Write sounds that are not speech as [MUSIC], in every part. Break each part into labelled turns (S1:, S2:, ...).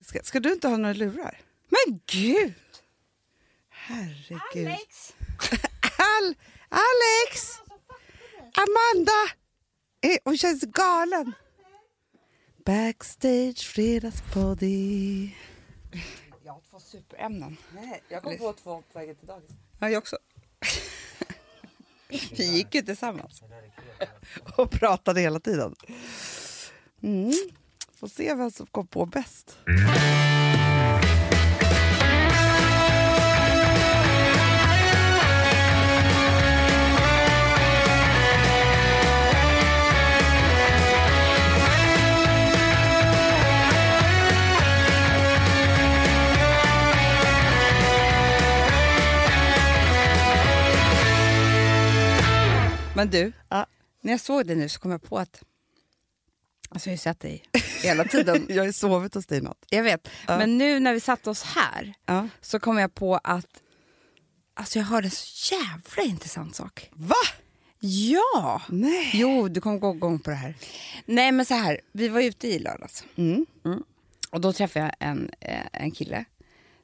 S1: Ska, ska du inte ha några lurar? Men gud! Herregud.
S2: Alex!
S1: [LAUGHS] Al Alex! Amanda! Eh, Hon känns galen. Backstage fredagspoddy. Jag har två superämnen.
S2: Nej, jag kom på två på vägen till dagis.
S1: Ja, jag också. [LAUGHS] Vi gick ju tillsammans och pratade hela tiden. Mm. Får se vem som kom på bäst.
S3: Men du,
S1: Ja.
S3: när jag såg dig nu så kom jag på att... Alltså jag har ju
S1: [LAUGHS]
S3: sett dig hela tiden.
S1: Jag har ju sovit hos dig natt.
S3: jag vet.
S1: Ja.
S3: Men nu när vi satte oss här
S1: Ja.
S3: så kom jag på att... Alltså jag hörde en så jävla intressant sak.
S1: Va?
S3: Ja!
S1: Nej.
S3: Jo, du kommer gå igång på det här. Nej men så här, vi var ute i lördags.
S1: Mm.
S3: Och då träffade jag en, eh, en kille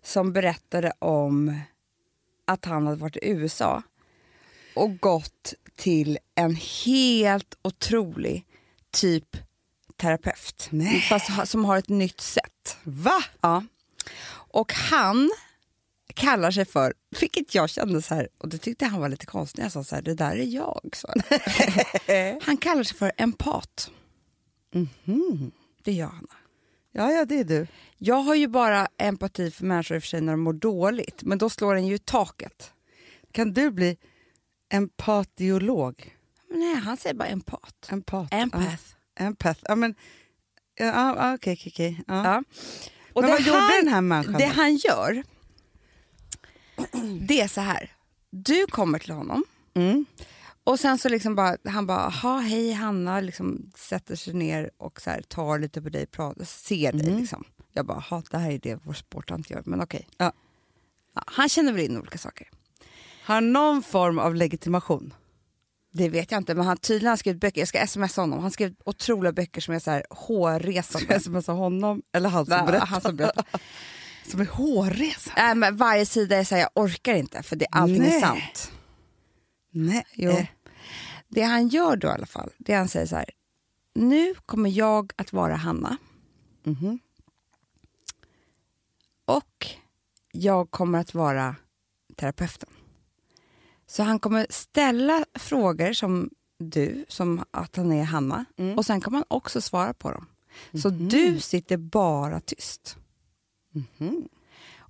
S3: som berättade om att han hade varit i USA och gått till en helt otrolig typ terapeut.
S1: Nej.
S3: Fast ha, som har ett nytt sätt.
S1: Va?
S3: Ja. Och han kallar sig för, vilket jag kände så här, och det tyckte han var lite konstigt när jag sa så här, det där är jag. Så. [LAUGHS] han kallar sig för empat. Det gör han.
S1: Ja, ja, det är du.
S3: Jag har ju bara empati för människor i och för sig när de mår dåligt, men då slår den ju i taket.
S1: Kan du bli empatiolog?
S3: Men nej, han säger bara empat.
S1: Empat.
S3: Empath.
S1: Ja, empath. Ja, men... Ja, ja, okej, okej, okej. Ja.
S3: Ja. Och
S1: Men
S3: det
S1: vad gjorde
S3: han-
S1: den här människan?
S3: Det
S1: då?
S3: han gör, det är så här. Du kommer till honom
S1: Mm.
S3: och sen så liksom bara, han bara, aha, hej Hanna, liksom sätter sig ner och så här, tar lite på dig, pratar, ser dig
S1: Mm.
S3: liksom. Jag bara, aha, det här är det vår sportant gör, men okej.
S1: Ja.
S3: Ja, han känner väl in olika saker.
S1: Har någon form av legitimation?
S3: Det vet jag inte, men han tydligen har skrivit böcker. Jag ska smsa honom. Han skrev otroliga böcker som är så här hårresande. [LAUGHS]
S1: Jag smsar honom eller han som
S3: Nej,
S1: berättar.
S3: han som berättar.
S1: Som är hårresa.
S3: Nej, men varje sida är så här, jag orkar inte för det, allting
S1: Nej.
S3: är sant.
S1: Nej.
S3: Jo.
S1: Eh,
S3: Det han gör då i alla fall, det är han säger så här, nu kommer jag att vara Hanna.
S1: mhm.
S3: och jag kommer att vara terapeuten. Så han kommer ställa frågor som du, som att han är Hanna,
S1: Mm.
S3: och sen kommer han också svara på dem. Så
S1: Mhm.
S3: du sitter bara tyst.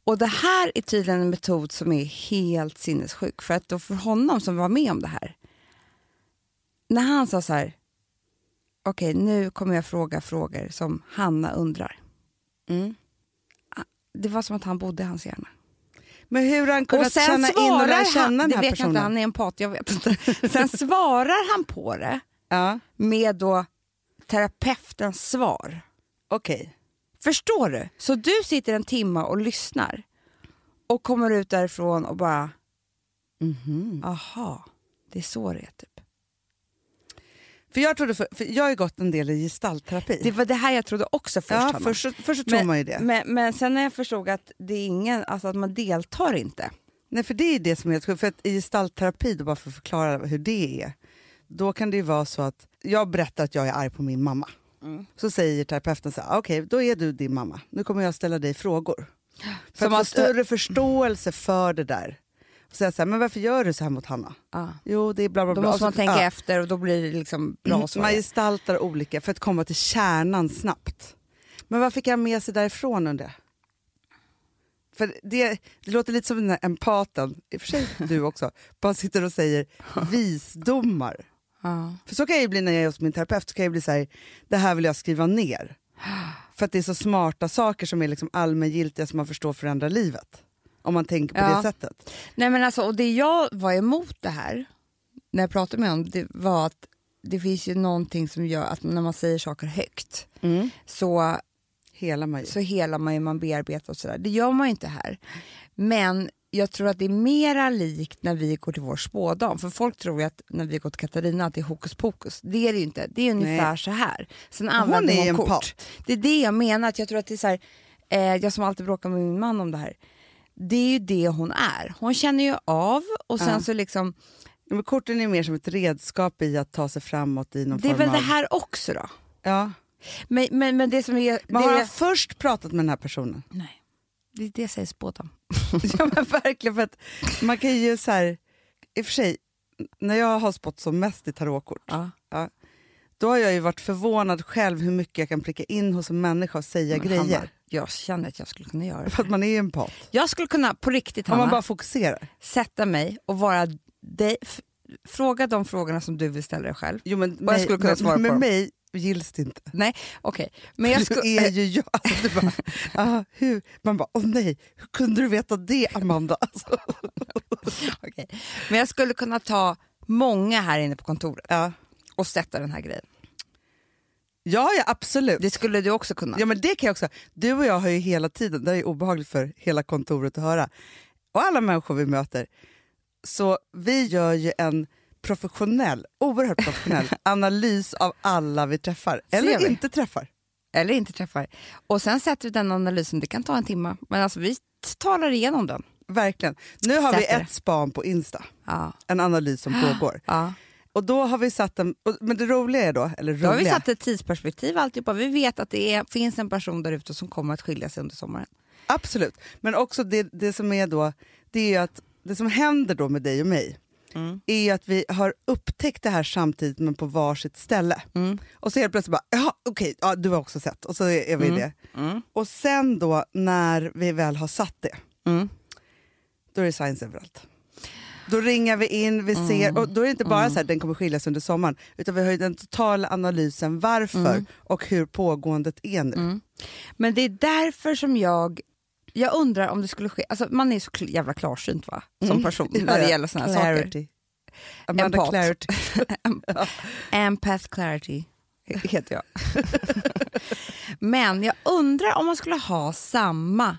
S3: Och det här är tydligen en metod som är helt sinnessjuk, för att då för honom som var med om det här, när han sa så här, okej nu kommer jag fråga frågor som Hanna undrar. Ah, Det var som att han bodde i hans hjärna.
S1: Men hur har han
S3: Och
S1: kunnat
S3: sen
S1: känna in och lära
S3: svarar
S1: känna
S3: han,
S1: den
S3: det
S1: här
S3: vet jag
S1: personen?
S3: inte, han är en pat, jag vet inte. [LAUGHS] Sen svarar han på det
S1: Ja,
S3: med då terapeutens svar.
S1: okej.
S3: Förstår du? Så du sitter en timme och lyssnar och kommer ut därifrån och bara,
S1: Mhm.
S3: aha, det är så det är typ.
S1: För jag trodde, för, för jag har ju gått en del i gestaltterapi.
S3: Det var det här jag trodde också först.
S1: ja,
S3: Hanna.
S1: först, så- först så tror
S3: men,
S1: man ju det.
S3: Men, men sen när jag förstod att det är ingen, alltså att man deltar inte.
S1: Nej, för det är det som jag tror. För att i gestaltterapi, då bara för att förklara hur det är, då kan det ju vara så att jag berättar att jag är arg på min mamma.
S3: Mm.
S1: Så säger terapeuten så här, okej, då är du din mamma. Nu kommer jag ställa dig
S3: [GASPS]
S1: frågor. För att få
S3: Som att- eh,
S1: större förståelse för det där. Och säga så här, men varför gör du så här mot Hanna?
S3: Ja.
S1: Jo, det är bla bla
S3: Då
S1: bla.
S3: måste man
S1: Och så-
S3: tänka
S1: Alltså, ja.
S3: efter och då blir det liksom
S1: Mm,
S3: bra svar.
S1: Man gestaltar olika för att komma till kärnan snabbt. Men vad fick han med sig därifrån undrar jag? För det, det låter lite som den där empaten, i och för
S3: [LAUGHS]
S1: sig du också, bara sitter och säger visdomar.
S3: Ja.
S1: För så kan jag ju bli när jag är hos min terapeut, så kan jag bli så här, det här vill jag skriva ner. För att det är så smarta saker som är liksom allmängiltiga som man förstår förändrar livet. Om man tänker på
S3: Ja.
S1: det sättet.
S3: Nej men alltså, och det jag var emot det här, när jag pratade med honom, det var att det finns ju någonting som gör att när man säger saker högt så,
S1: Hela man ju.
S3: Mm. så hela man ju, man bearbetar och sådär. Det gör man ju inte här. Men jag tror att det är mera likt när vi går till vår spådam. För folk tror ju att när vi går till Katarina att det är hokus pokus. Det är det ju inte. Det är ungefär så här. Sen använder
S1: är
S3: hon
S1: en
S3: kort.
S1: pat.
S3: Det är det jag menar, att jag tror att det är så här, eh, jag som alltid bråkar med min man om det här, det är ju det hon är. Hon känner ju av och sen
S1: Ja.
S3: så liksom,
S1: Ja, Men korten är mer som ett redskap i att ta sig framåt i någon
S3: det är
S1: form
S3: väl
S1: av...
S3: det här också då.
S1: Ja.
S3: Men, men, men det som är...
S1: Men
S3: det
S1: har
S3: är
S1: han först pratat med den här
S3: [LAUGHS]
S1: personen?
S3: nej, det, det sägs båda.
S1: ja men verkligen, för att man kan ju så här... I och för sig, när jag har spått som mest i tarotkort,
S3: Ja.
S1: då har jag ju varit förvånad själv hur mycket jag kan pricka in hos en människa och säga
S3: Men
S1: grejer.
S3: Hanna, jag känner att jag skulle kunna göra det.
S1: För att man är en pat.
S3: Jag skulle kunna på riktigt
S1: Om
S3: Hanna,
S1: man bara fokuserar.
S3: sätta mig och vara dig, f- fråga de frågorna som du vill ställa dig själv.
S1: Jo, men
S3: jag skulle kunna
S1: med,
S3: svara på
S1: med
S3: dem.
S1: mig gills det inte.
S3: Nej, okej. Men jag eh.
S1: du
S3: skulle...
S1: är ju jag. Alltså, du bara, ah, hur? Man bara, åh nej, hur kunde du veta det Amanda? Alltså,
S3: [LAUGHS] Okej. Men jag skulle kunna ta många här inne på kontoret
S1: ja.
S3: och sätta den här grejen.
S1: ja, ja absolut.
S3: Det skulle du också kunna.
S1: Ja, men det kan jag också. Du och jag har ju hela tiden, det här är obehagligt för hela kontoret att höra, och alla människor vi möter, så vi gör ju en professionell, oerhört
S3: [LAUGHS]
S1: professionell analys av alla vi träffar. Eller
S3: vi?
S1: inte träffar.
S3: Eller inte träffar. Och sen sätter vi den analysen, det kan ta en timme. Men alltså vi t- talar igenom den.
S1: Verkligen. Nu har vi
S3: Sätter det.
S1: ett span på Insta,
S3: Ja.
S1: en analys
S3: [GASPS]
S1: som pågår.
S3: Ja.
S1: Och då har vi satt en, och- men det roliga är då, eller
S3: Då har vi
S1: roliga,
S3: satt ett tidsperspektiv alltihopa. Vi vet att det är, finns en person där ute som kommer att skilja sig under sommaren.
S1: absolut, men också det, det som är då, det är ju att det som händer då med dig och mig är ju att vi har upptäckt det här samtidigt men på varsitt ställe. Och så helt plötsligt bara, ja okej, ja, du har också sett. Och så är, är vi i det. Och sen då när vi väl har satt det,
S3: Mm.
S1: då är det science överallt. Då ringar vi in, vi ser, och då är det inte bara så här, den kommer skiljas under sommaren, utan vi har ju den totala analysen varför och hur pågåendet är nu.
S3: Men det är därför som jag... Jag undrar om det skulle ske... Alltså man är så kl- jävla klarsynt va? Som
S1: [LAUGHS]
S3: [LAUGHS] person när det gäller såna här saker.
S1: Mm. Clarity. Amanda
S3: Empat.
S1: Clarity.
S3: [LAUGHS] Empath clarity [LAUGHS] heter jag. Men jag undrar om man skulle ha samma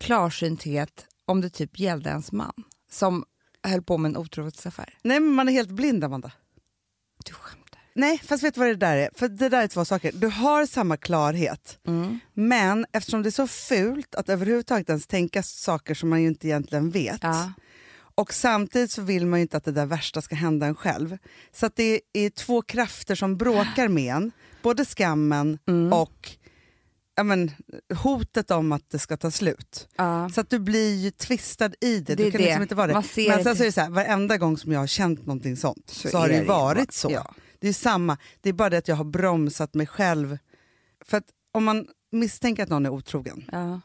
S3: klarsynthet om det typ gällde ens man som höll på med en otrohetsaffär.
S1: Nej men man är helt blind Amanda.
S3: Du skämtar.
S1: Nej, fast vet du vad det där är? För det där är två saker. Du har samma klarhet,
S3: Mm.
S1: men eftersom det är så fult att överhuvudtaget ens tänka saker som man ju inte egentligen vet.
S3: Ja.
S1: Och samtidigt så vill man ju inte att det där värsta ska hända en själv. Så att det är två krafter som bråkar med en. Både skammen
S3: Mm.
S1: och ja, men, hotet om att det ska ta slut.
S3: Ja.
S1: Så att du blir ju tvistad i det.
S3: Det
S1: du
S3: är
S1: kan
S3: det.
S1: liksom inte vara det.
S3: Man ser
S1: Men sen
S3: inte.
S1: så är det så här, varenda gång som jag har känt någonting sånt så,
S3: är
S1: har det ju
S3: det ju
S1: varit
S3: bara-
S1: så.
S3: ja.
S1: Det är samma, det är bara det att jag har bromsat mig själv. För att om man misstänker att någon är otrogen,
S3: Ja.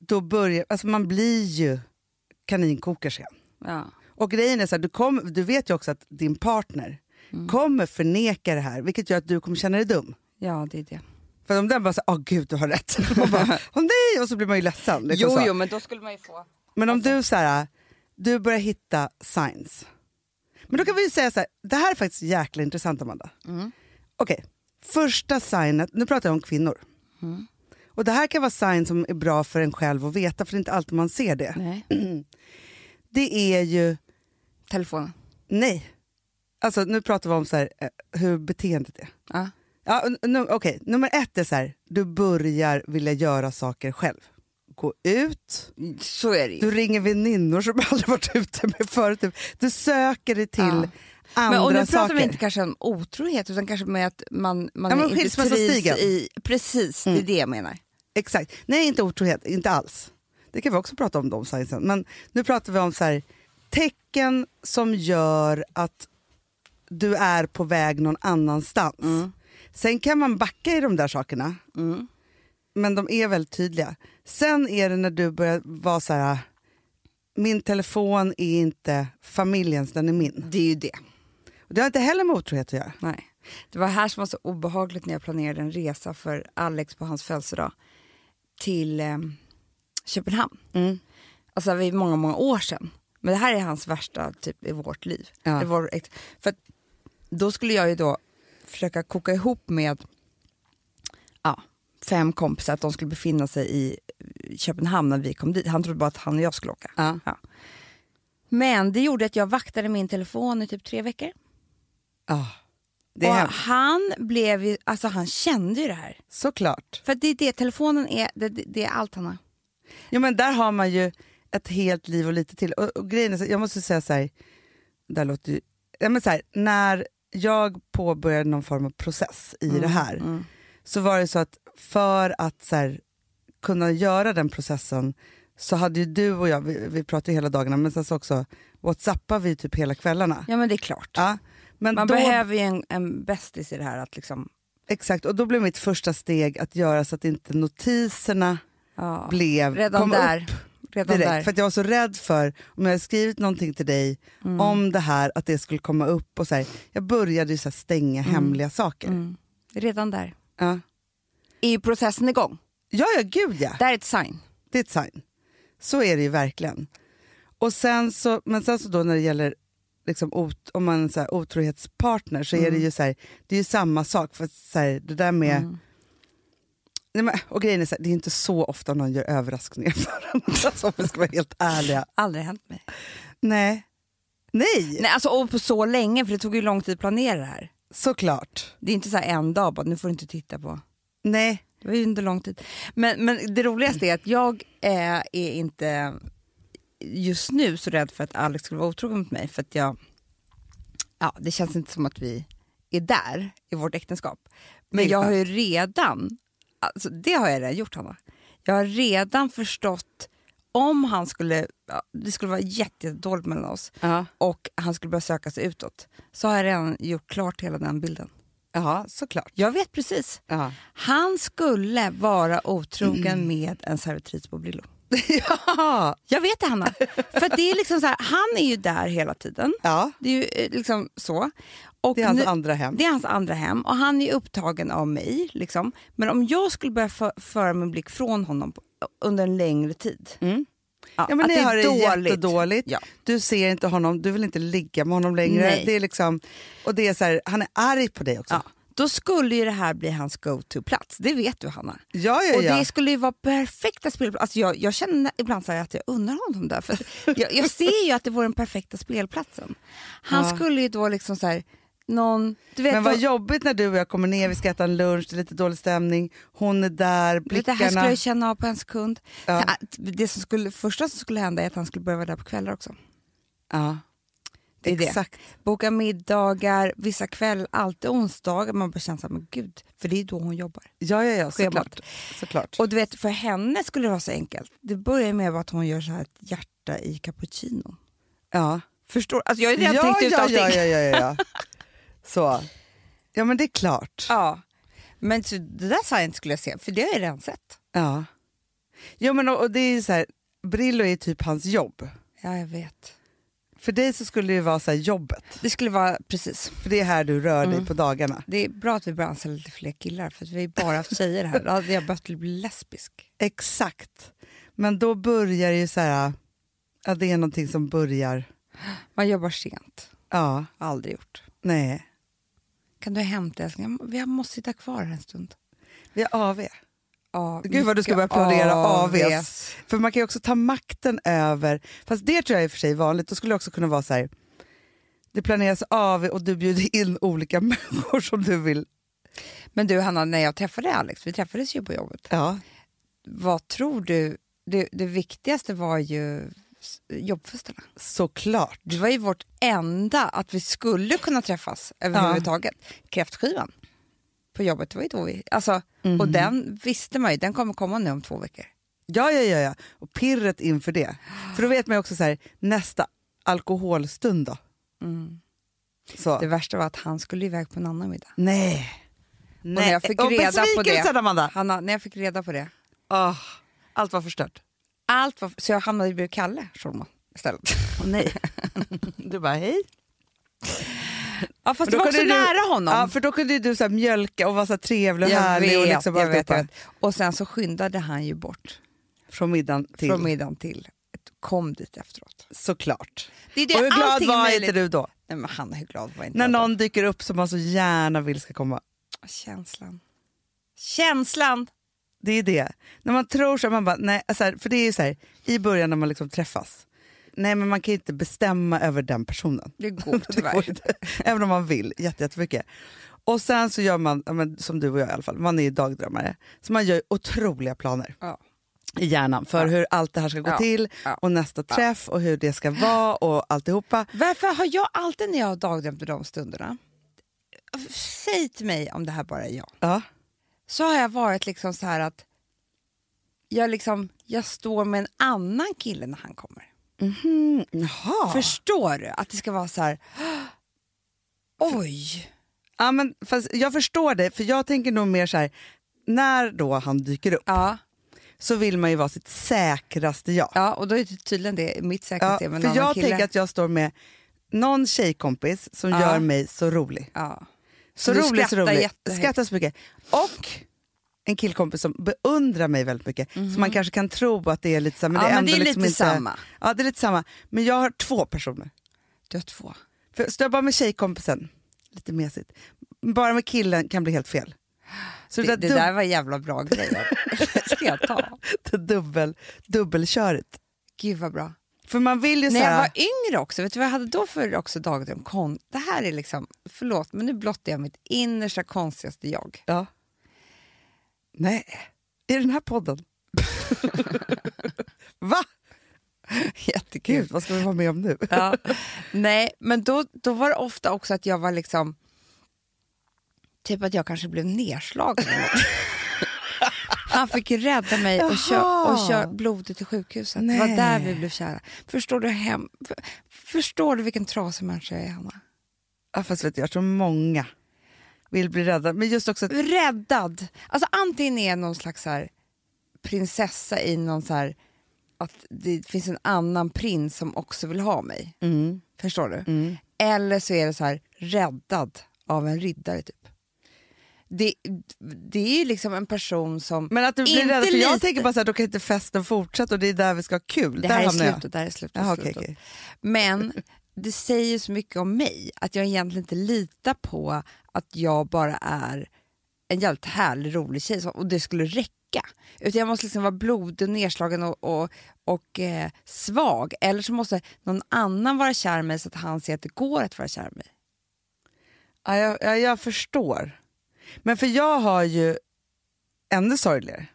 S1: då börjar, alltså man blir ju kaninkokerska.
S3: Ja.
S1: Och grejen är så här, du, kom, du vet ju också att din partner
S3: Mm.
S1: kommer förneka det här, vilket gör att du kommer känna dig dum.
S3: ja, det är det.
S1: För om den bara säger åh gud du har rätt, [LAUGHS] och, bara, åh, nej! och så blir man ju ledsen. Liksom så.
S3: men då skulle man ju få...
S1: Men om du så här, du börjar hitta signs. Men då kan vi ju säga så här, det här är faktiskt jäkla intressant Amanda. Okej, första signet, nu pratar jag om kvinnor. Och det här kan vara sign som är bra för en själv att veta, för det är inte alltid man ser det.
S3: Nej.
S1: Det är ju,
S3: Telefonen.
S1: nej. Alltså nu pratar vi om så här, eh, hur beteendet är.
S3: Ja.
S1: Ja, n- nu, okej. Nummer ett är så här, du börjar vilja göra saker själv. Gå ut,
S3: Så är det ju.
S1: Du ringer väninnor som aldrig varit ute med förut. Typ. Du söker dig till
S3: Ja.
S1: andra
S3: Men, och nu pratar
S1: saker.
S3: vi inte kanske om otrohet utan kanske med att man, man
S1: Ja, men Mm.
S3: inte
S1: skilsmässostigen.
S3: trivs i... Precis, det är det jag menar.
S1: Exakt. Nej, inte otrohet. Inte alls. Det kan vi också prata om de signsen. Men nu pratar vi om så här, tecken som gör att du är på väg någon annanstans.
S3: Mm.
S1: Sen kan man backa i de där sakerna. Men de är väldigt tydliga. Sen är det när du börjar vara så här, min telefon är inte familjens, den är min.
S3: Det är ju det.
S1: Och Det har inte heller med otrohet att göra.
S3: Nej. Det var här som var så obehagligt när jag planerade en resa för Alex på hans födelsedag till eh, Köpenhamn. Alltså det var ju många, många år sedan. Men det här är hans värsta typ i vårt liv.
S1: Ja.
S3: Det var, ett- för att, då skulle jag ju då försöka koka ihop med ja, fem kompisar att de skulle befinna sig i eh, Köpenhamn när vi kom dit. Han trodde bara att han och jag skulle åka.
S1: Ja.
S3: Men det gjorde att jag vaktade min telefon i typ tre veckor.
S1: Ah. Det är
S3: och
S1: hemskt.
S3: han blev ju, alltså han kände ju det här.
S1: Såklart.
S3: För att det är det, telefonen är, det, det det är allt han har.
S1: Jo men där har man ju ett helt liv och lite till. Och, och grejen är, så- jag måste säga så här, där låter ju, ja, men så här, när jag påbörjade någon form av process
S3: Mm,
S1: i det här så var det så att för att så här, kunna göra den processen så hade ju du och jag, vi, vi pratade ju hela dagarna men sen så också whatsappar vi typ hela kvällarna.
S3: Ja men det är klart.
S1: Ja, men
S3: Man
S1: då,
S3: behöver ju en, en bästis i det här att liksom,
S1: Exakt, och då blev mitt första steg att göra så att inte notiserna
S3: ja.
S1: blev,
S3: Redan
S1: kom upp
S3: där. Redan
S1: direkt.
S3: där.
S1: För att jag var så rädd för, om jag hade skrivit någonting till dig
S3: Mm.
S1: om det här, att det skulle komma upp. och så här, Jag började ju så här stänga hemliga saker.
S3: Mm. Redan där.
S1: Ja.
S3: Är ju processen igång.
S1: ja, ja, gud ja.
S3: Där är ett sign.
S1: Det är ett sign. Så är det ju verkligen. Och sen så, men sen så då när det gäller liksom ot, om man är så här, otrohetspartner så
S3: Mm.
S1: är det ju så här, det är ju samma sak. För att så här, det där med... Nej, men, och grejen är så här, det är inte så ofta någon gör överraskningar för en. [LAUGHS] Alltså, om vi ska vara helt ärliga.
S3: Aldrig hänt mig.
S1: Nej. Nej,
S3: Nej, alltså, och på så länge, för det tog ju lång tid att planera det här.
S1: såklart.
S3: Det är inte så här en dag, bara, nu får du inte titta på.
S1: Nej,
S3: Det var ju inte lång tid. Men, men det roligaste är att jag eh, är inte just nu så rädd för att Alex skulle vara otrogen mot mig. För att jag, ja, det känns inte som att vi är där i vårt äktenskap.
S1: Det
S3: Men
S1: är
S3: jag har ju redan, alltså, det har jag redan gjort Hanna. Jag har redan förstått om han skulle, ja, det skulle vara jätte- jättedåligt mellan oss
S1: Ja.
S3: och han skulle börja söka sig utåt. Så har jag redan gjort klart hela den bilden.
S1: ja såklart.
S3: Jag vet precis.
S1: Ja.
S3: Han skulle vara otrogen
S1: Mm.
S3: med en servitris på Brillo.
S1: ja.
S3: Jag vet det, Hanna. För att det är liksom så här, han är ju där hela tiden.
S1: ja,
S3: Det är ju eh, liksom så. Och
S1: det är hans
S3: nu-
S1: andra hem.
S3: det är hans andra hem och han är upptagen av mig. Liksom. Men om jag skulle börja för, föra min blick från honom på, under en längre tid.
S1: Mm. Ja, men
S3: att
S1: ni har det
S3: dåligt.
S1: jättedåligt.
S3: Ja.
S1: Du ser inte honom, du vill inte ligga med honom längre.
S3: Nej.
S1: Det är liksom, och det är så här, han är arg på dig också.
S3: Ja. Då skulle ju det här bli hans go-to-plats. Det vet du, Hanna.
S1: Ja, ja,
S3: Och
S1: ja.
S3: det skulle ju vara perfekta spelplatser. Alltså jag, jag känner ibland så här att jag undrar honom där. För att jag, jag ser ju att det vore den perfekta spelplatsen. Han skulle ju då liksom så här, någon... Du vet,
S1: Men vad
S3: då-
S1: jobbigt när du och jag kommer ner, vi ska äta en lunch, det är lite dålig stämning, hon är där,
S3: det här
S1: blickarna.
S3: skulle jag känna av på en sekund.
S1: Ja.
S3: Så att Det som skulle, första som skulle hända är att han skulle börja vara där på kvällar också.
S1: Ja.
S3: Det är det.
S1: Exakt.
S3: Boka middagar, vissa kvällar, alltid onsdagar. Man bara känner så här, men gud, för det är då hon jobbar.
S1: Ja, ja, ja,
S3: Schemat.
S1: såklart. såklart.
S3: Och du vet, för henne skulle det vara så enkelt. Det börjar med att hon gör så här ett hjärta i cappuccino.
S1: ja.
S3: Förstår Alltså jag har ju
S1: Ja,
S3: redan
S1: ja,
S3: tänkt ut
S1: ja,
S3: allting.
S1: ja, ja, ja. Så. Ja, men det är klart.
S3: [LAUGHS] Ja. Men så, det där sa jag inte skulle jag se, för det har jag redan sett.
S1: Ja. Jo, men och, och det är ju så här, Brillo är typ hans jobb.
S3: Ja, jag vet.
S1: För dig så skulle det ju vara så här jobbet,
S3: Det skulle vara precis.
S1: för det är här du rör dig på dagarna.
S3: Det är bra att vi börjar anställa lite fler killar, för att vi har ju bara haft tjejer här. Då hade jag börjat bli lesbisk.
S1: Exakt. Men då börjar det ju så här, ja det är någonting som börjar,
S3: Man jobbar sent.
S1: ja,
S3: Aldrig gjort.
S1: nej.
S3: Kan du hämta älskling? Jag- Jag måste sitta kvar här en stund.
S1: Vi är AV.
S3: Ja,
S1: Gud vad du ska börja
S3: mycket
S1: applådera
S3: AVs.
S1: AVs. För man kan ju också ta makten över, fast det tror jag i och för sig är vanligt, då skulle det också kunna vara så här, det planeras AV och du bjuder in olika [LAUGHS] människor som du vill.
S3: Men du Hanna, när jag träffade Alex, vi träffades ju på jobbet.
S1: Ja,
S3: Vad tror du, det, det viktigaste var ju s- jobbfesterna.
S1: såklart.
S3: Det var ju vårt enda, att vi skulle kunna träffas överhuvudtaget. Kräftskivan på jobbet, det var ju då vi... Alltså,
S1: Mhm.
S3: Och den visste man ju, den kommer komma nu om två veckor.
S1: Ja, ja, ja, ja. Och pirret inför det. För då vet man ju också så här, nästa alkoholstund då. Så.
S3: Mm. Det värsta var att han skulle iväg på en annan middag.
S1: Nej.
S3: Och när jag fick
S1: och
S3: reda på
S1: besvikelsen,
S3: det,
S1: Amanda.
S3: Hanna, när jag fick reda på det,
S1: Åh, allt var förstört.
S3: allt var, så jag hamnade bredvid Kalle Schulman
S1: [LAUGHS]
S3: istället.
S1: nej.
S3: [LAUGHS]
S1: du bara hej.
S3: Ja, fast
S1: Men
S3: det
S1: då
S3: var också
S1: kunde du-
S3: nära honom.
S1: Ja, för då kunde ju du så här mjölka och vara så här trevlig och
S3: jag,
S1: härlig. och
S3: vet,
S1: liksom
S3: jag
S1: alltihopa.
S3: vet, jag vet. Och sen så skyndade han ju bort
S1: Från middagen till.
S3: från middagen till. Kom dit efteråt.
S1: Såklart.
S3: Det är det,
S1: och hur glad
S3: allting är
S1: var inte
S3: möjligt.
S1: du då?
S3: Nej, men han, hur glad var inte
S1: När
S3: jag då?
S1: någon dyker upp som man så gärna vill ska komma.
S3: Känslan. Känslan!
S1: alltså Det är det. När man tror så här, man bara, nej, så här, för det är ju så här, i början när man liksom träffas Nej, men man kan ju inte bestämma över den personen. [LAUGHS]
S3: Det går
S1: Det går
S3: tyvärr.
S1: inte. Även om man vill jätte, jättemycket. Och sen så gör man, ja, men som du och jag i alla fall, man är ju dagdrömmare. Så man gör ju otroliga planer
S3: Ja.
S1: i hjärnan för
S3: Ja.
S1: hur allt det här ska gå
S3: Ja.
S1: till
S3: Ja.
S1: och nästa träff och hur det ska vara och alltihopa.
S3: Varför har jag alltid när jag har dagdrömt i de stunderna, säg till mig om det här bara är jag,
S1: Ja.
S3: så har jag varit liksom så här att jag, liksom, jag står med en annan kille när han kommer.
S1: Mm, jaha.
S3: Förstår du? Att det ska vara
S1: [GASPS]
S3: så här, oj,
S1: ja, men, fast jag förstår det, för jag tänker nog mer så här, när då han dyker upp
S3: ja,
S1: så vill man ju vara sitt säkraste jag.
S3: ja, och då är det tydligen det mitt
S1: Ja,
S3: säkerhetssystem med en
S1: för
S3: annan
S1: jag
S3: kille.
S1: tänker att jag står med någon tjejkompis som
S3: Ja.
S1: gör mig så rolig.
S3: ja.
S1: Så
S3: Du
S1: rolig, så
S3: skrattar
S1: rolig.
S3: jättehögt.
S1: Skrattar så mycket. Och en killkompis som beundrar mig väldigt mycket. Så man kanske kan tro att det är lite samma. Men
S3: Mhm. Ja,
S1: det är,
S3: men
S1: ändå
S3: det är
S1: liksom
S3: lite
S1: inte,
S3: samma.
S1: Ja, det är lite samma. Men jag har två personer.
S3: Du har två.
S1: För står jag bara med tjejkompisen, lite mesigt. Bara med killen kan bli helt fel. Så
S3: Det,
S1: det,
S3: det
S1: där,
S3: där var jävla bra grejer.
S1: [LAUGHS]
S3: ska jag ta?
S1: dub- [LAUGHS] dubbel, dubbelköret.
S3: Gud vad bra.
S1: För man vill ju
S3: När jag
S1: såhär...
S3: var yngre också, vet du vad jag hade då för också dagdröm? Kon- det här är liksom, förlåt, men nu blottar jag mitt innersta konstigaste jag.
S1: [LAUGHS] Ja. Nej, i den här
S3: [LAUGHS]
S1: podden. Va? Gud,
S3: Jättekul.
S1: vad ska vi vara med om nu?
S3: [LAUGHS] Ja. Nej, men då, då var det ofta också att jag var liksom, typ att jag kanske blev nedslagen. eller något. Han fick ju rädda mig och köra och kö blodet till sjukhuset. Det var
S1: Nej.
S3: där vi blev kära. Förstår du, hem, för, förstår du vilken trasig människa jag är, Hanna?
S1: Ja, fast vet du, jag tror många vill bli rädda. Men just också att,
S3: räddad. Alltså antingen är jag någon slags så här prinsessa i någon så här att det finns en annan prins som också vill ha mig.
S1: Mm,
S3: Förstår du? Eller så är det så här räddad av en riddare typ. Det, det är ju liksom en person som...
S1: men att du blir
S3: Inte
S1: rädd, för jag
S3: lite.
S1: tänker bara så här, då kan inte festen fortsätta och det är där vi ska ha kul.
S3: det
S1: där
S3: här är
S1: hamnar jag.
S3: slutet, det här är slutet.
S1: Jaha,
S3: slutet.
S1: okej, okej.
S3: Men det säger så mycket om mig att jag egentligen inte litar på att jag bara är en jävligt härlig, rolig tjej som- och det skulle räcka. Utan jag måste liksom vara blodig, nedslagen och, och, och eh, svag. Eller så måste någon annan vara kär i mig så att han ser att det går att vara kär i mig.
S1: Ja, jag, ja, jag förstår. Men för jag har ju ännu sorgligare,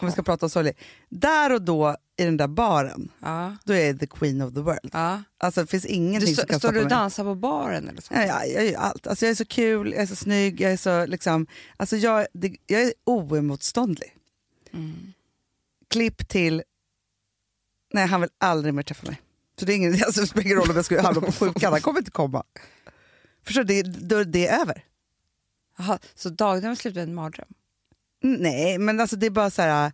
S1: om vi ska prata om sorglig. Där och då i den där baren,
S3: Ja.
S1: då är jag the queen of the world.
S3: ja.
S1: Alltså det finns
S3: Du
S1: ingenting som
S3: stå,
S1: kan
S3: står
S1: stoppa
S3: du och
S1: mig.
S3: dansar på baren eller så?
S1: Ja, ja, jag gör allt. Alltså, jag är så kul, jag är så snygg, jag är så liksom... Alltså, jag, det, jag är oemotståndlig.
S3: Mm.
S1: Klipp till... Nej, han vill aldrig mer träffa mig. Så det är ingen, [LAUGHS] alltså, det spelar ingen roll om jag skulle hamna på sjukan, han kommer inte komma. Förstår du, det, då är det över.
S3: Jaha, så dagdrömmen slutar med en mardröm?
S1: Nej, men alltså det är bara så här...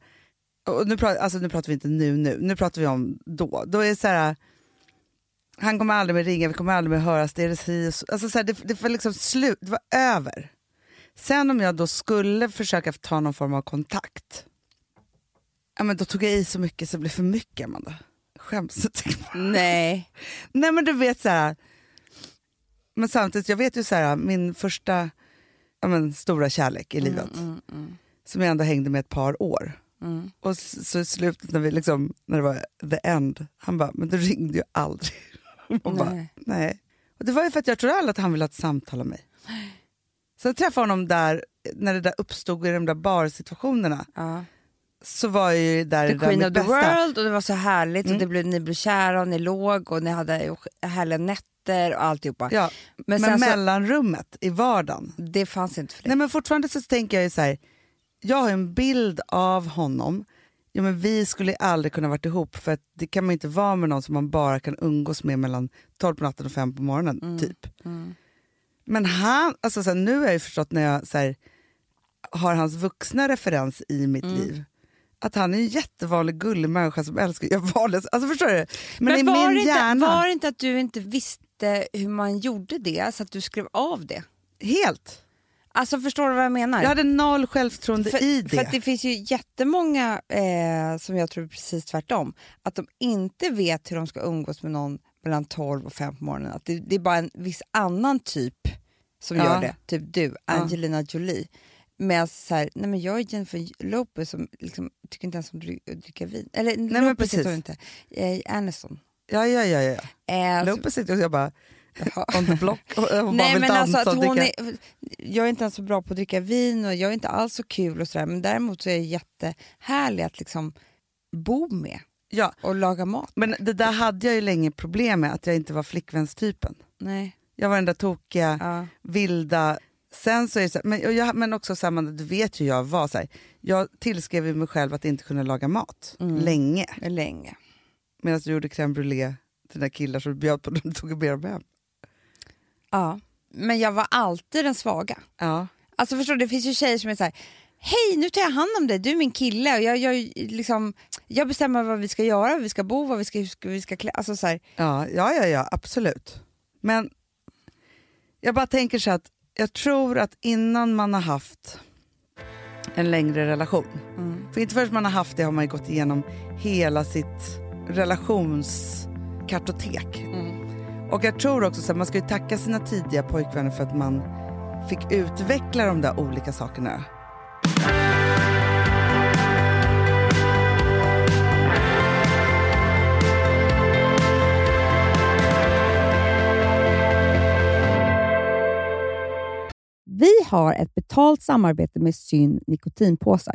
S1: Och nu, pratar, alltså, nu pratar vi inte nu, nu, nu pratar vi om då. Då är det så här... Han kommer aldrig mer ringa, vi kommer aldrig mer höras, det är det si och så. Alltså så här, det, det var liksom slut, det var över. Sen om jag då skulle försöka ta någon form av kontakt, ja, men då tog jag i så mycket så det blev för mycket Amanda. Skäms jag tycker jag.
S3: Nej.
S1: Nej men du vet så här. men samtidigt jag vet ju så här, min första ja, men, stora kärlek i
S3: Mm,
S1: livet, som jag ändå hängde med ett par år.
S3: Mm.
S1: Och s- så i slutet när, vi liksom, när det var the end, han bara, men du ringde ju aldrig. [LAUGHS] Och bara,
S3: Nej.
S1: nej. Och det var ju för att jag trodde aldrig att han ville ha ett samtal med mig. Sen träffade jag honom där, när det där uppstod i de där barsituationerna,
S3: Ja.
S1: så var jag ju där
S3: The
S1: det där
S3: Queen
S1: mitt
S3: of the
S1: bästa. Mm.
S3: World och det var så härligt och det blev, ni blev kära och ni låg och ni hade ju härliga nätter och alltihopa.
S1: Ja,
S3: Men
S1: men
S3: sen så-
S1: mellanrummet i vardagen.
S3: Det fanns inte för dig.
S1: Nej, men fortfarande så tänker jag ju så här, jag har ju en bild av honom, ja, men vi skulle aldrig kunna varit ihop för att det kan man ju inte vara med någon som man bara kan umgås med mellan 12 på natten och 5 på morgonen.
S3: Mm,
S1: typ. Men han, alltså så här, nu har jag ju förstått när jag så här, har hans vuxna referens i mitt
S3: Mm.
S1: liv, att han är en jättevanlig gullig människa som älskar jag valdes, alltså förstår du? Men, i
S3: var,
S1: min
S3: det
S1: hjärna,
S3: inte, var det inte att du inte visste hur man gjorde det, så att du skrev av det?
S1: helt.
S3: Alltså förstår du vad jag menar?
S1: Jag hade noll självförtroende
S3: för,
S1: i det.
S3: För att det finns ju jättemånga eh, som jag tror är precis tvärtom. Att de inte vet hur de ska umgås med någon mellan 12 och 5 på morgonen. Att det, det är bara en viss annan typ som
S1: Ja.
S3: gör det. Typ du, Angelina Jolie. Medan så här, nej men jag är Jennifer Lopez som liksom, tycker inte ens om att dry- att dricka vin. Eller nej,
S1: men
S3: Lopez heter
S1: precis.
S3: hon inte. Eh, Aniston.
S1: Ja, ja, ja. ja.
S3: Eh, så-
S1: Lopez sitter och jag bara, [LAUGHS] on the block,
S3: [LAUGHS]
S1: och hon bara
S3: Nej,
S1: vill
S3: men
S1: dansa
S3: alltså att
S1: och
S3: hon
S1: dricka.
S3: är, Jag är inte ens så bra på att dricka vin och jag är inte alls så kul och sådär. Men däremot så är jag jättehärlig att liksom bo med
S1: Ja,
S3: och laga mat.
S1: men det där hade jag ju länge problem med, att jag inte var flickvänstypen.
S3: Nej.
S1: Jag var den där tokiga,
S3: Ja.
S1: vilda. Sen så är det så här, men, och jag, men också samma, du vet hur jag var. Så här, jag tillskrev ju mig själv att inte kunna laga mat
S3: Mm.
S1: länge.
S3: Länge.
S1: Medan du gjorde crème brûlée till dina killar som du bjöd på när du tog med dem hem.
S3: Ja. Men jag var alltid den svaga.
S1: Ja.
S3: Alltså förstår du, det finns ju tjejer som är så här. Hej, nu tar jag hand om dig, du är min kille och jag, jag, liksom, jag bestämmer vad vi ska göra, vad vi ska bo, vad vi ska, hur vi ska klä. Alltså så här,
S1: Ja, ja, ja, ja, absolut. Men jag bara tänker så här att jag tror att innan man har haft en längre relation, för inte förrän man har haft det har man ju gått igenom hela sitt relationskartotek. Och jag tror också att man ska ju tacka sina tidiga pojkvänner för att man fick utveckla de där olika sakerna.
S3: Vi har ett betalt samarbete med Syn nikotinpåsar.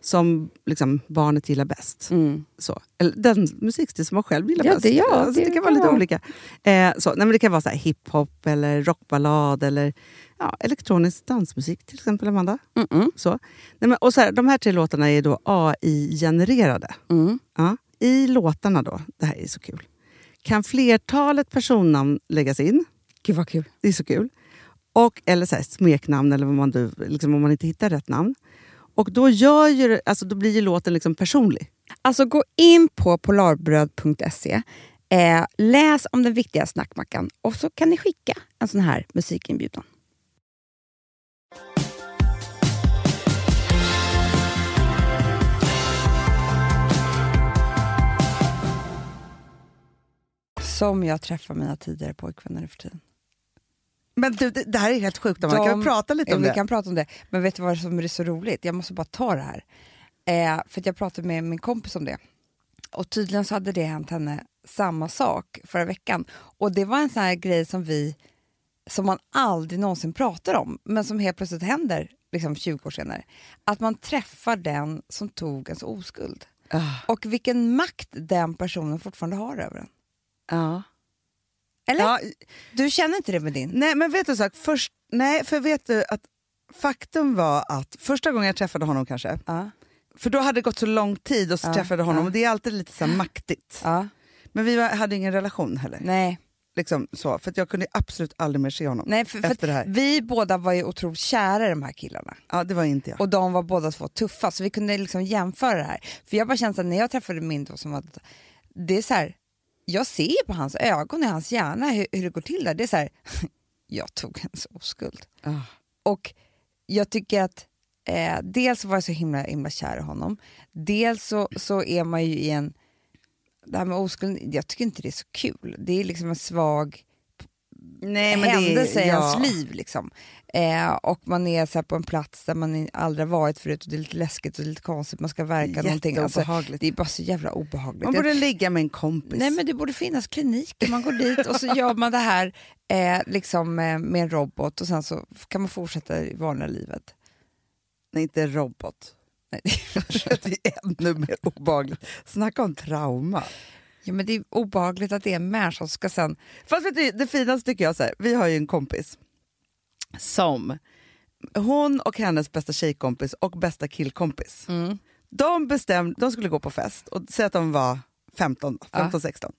S1: som liksom, barnet gillar bäst.
S3: Mm.
S1: Så. Eller den musikstil som man själv gillar
S3: Ja,
S1: bäst.
S3: det- ja,
S1: alltså, det,
S3: det
S1: kan vara
S3: kan
S1: lite
S3: vara.
S1: olika. Eh, så. Nej, men det kan vara så här hiphop, eller rockballad eller ja, elektronisk dansmusik till exempel, Amanda.
S3: Mm-mm.
S1: Så. Nej, men, och så här, de här tre låtarna är då AI-genererade.
S3: Mm.
S1: Ja. I låtarna då, det här är så kul, kan flertalet personnamn läggas in.
S3: Gud vad kul.
S1: Det är så kul. Och, eller så här, smeknamn, eller vad man, nu- liksom, om man inte hittar rätt namn. Och då, gör ju, det- alltså, då blir ju låten liksom personlig.
S3: Alltså gå in på polarbröd.se, eh, läs om den viktiga snackmackan och så kan ni skicka en sån här musikinbjudan. Som jag träffar mina tidigare pojkvänner nu för tiden.
S1: Men du, det, det här är helt sjukt. Man
S3: De-
S1: kan vi prata lite
S3: Ja,
S1: om
S3: vi
S1: det?
S3: kan prata om det. Men vet du vad som är så roligt? Jag måste bara ta det här. Eh, för att jag pratade med min kompis om det. Och tydligen så hade det hänt henne samma sak förra veckan. Och det var en sån här grej som vi som man aldrig någonsin pratar om, men som helt plötsligt händer liksom 20 år senare. Att man träffar den som tog ens oskuld.
S1: Ah,
S3: Och vilken makt den personen fortfarande har över en.
S1: ja.
S3: Eller?
S1: Ja,
S3: Du känner inte det med din?
S1: nej, men vet du en sak? Först, nej, för vet du att faktum var att första gången jag träffade honom kanske,
S3: Ja.
S1: för då hade det gått så lång tid och så
S3: Ja,
S1: träffade jag honom
S3: ja.
S1: och det är alltid lite så här maktigt.
S3: ja.
S1: Men vi var, hade ingen relation heller.
S3: Nej.
S1: Liksom så, för att jag kunde absolut aldrig mer se honom
S3: Nej, för, för
S1: efter det här.
S3: Vi båda var ju otroligt kära i de här killarna
S1: Ja, det var inte jag.
S3: och de var båda två tuffa så vi kunde liksom jämföra det här. För jag bara kände så här, när jag träffade min då som var det är så här, jag ser ju på hans ögon i hans hjärna hur, hur det går till där. Det är så här, [LAUGHS] jag tog hans oskuld.
S1: Ah.
S3: Och jag tycker att eh, dels var jag så himla, himla kär i honom, dels så, så är man ju i en... Det här med oskuld, jag tycker inte det är så kul. Det är liksom en svag
S1: Nej,
S3: händelse i
S1: ja.
S3: ens liv. Liksom. Eh, och man är så här på en plats där man i- aldrig har varit förut och det är lite läskigt och lite konstigt, man ska verka någonting. Alltså,
S1: Jätteobehagligt.
S3: det är bara så jävla obehagligt.
S1: Man borde ligga med en kompis.
S3: Nej men det borde finnas kliniker, man går dit och så [LAUGHS] gör man det här eh, liksom, eh, med en robot och sen så kan man fortsätta i vanliga livet.
S1: Nej, inte robot.
S3: Nej.
S1: [LAUGHS] det är ännu mer obehagligt. Snacka om trauma.
S3: Ja, men det är obehagligt att det är en människa som ska sen...
S1: Fast vet du, det finaste tycker jag, så här, vi har ju en kompis som, hon och hennes bästa tjejkompis och bästa killkompis,
S3: Mm.
S1: de, bestämde, de skulle gå på fest och säga att de var 15, 15 16.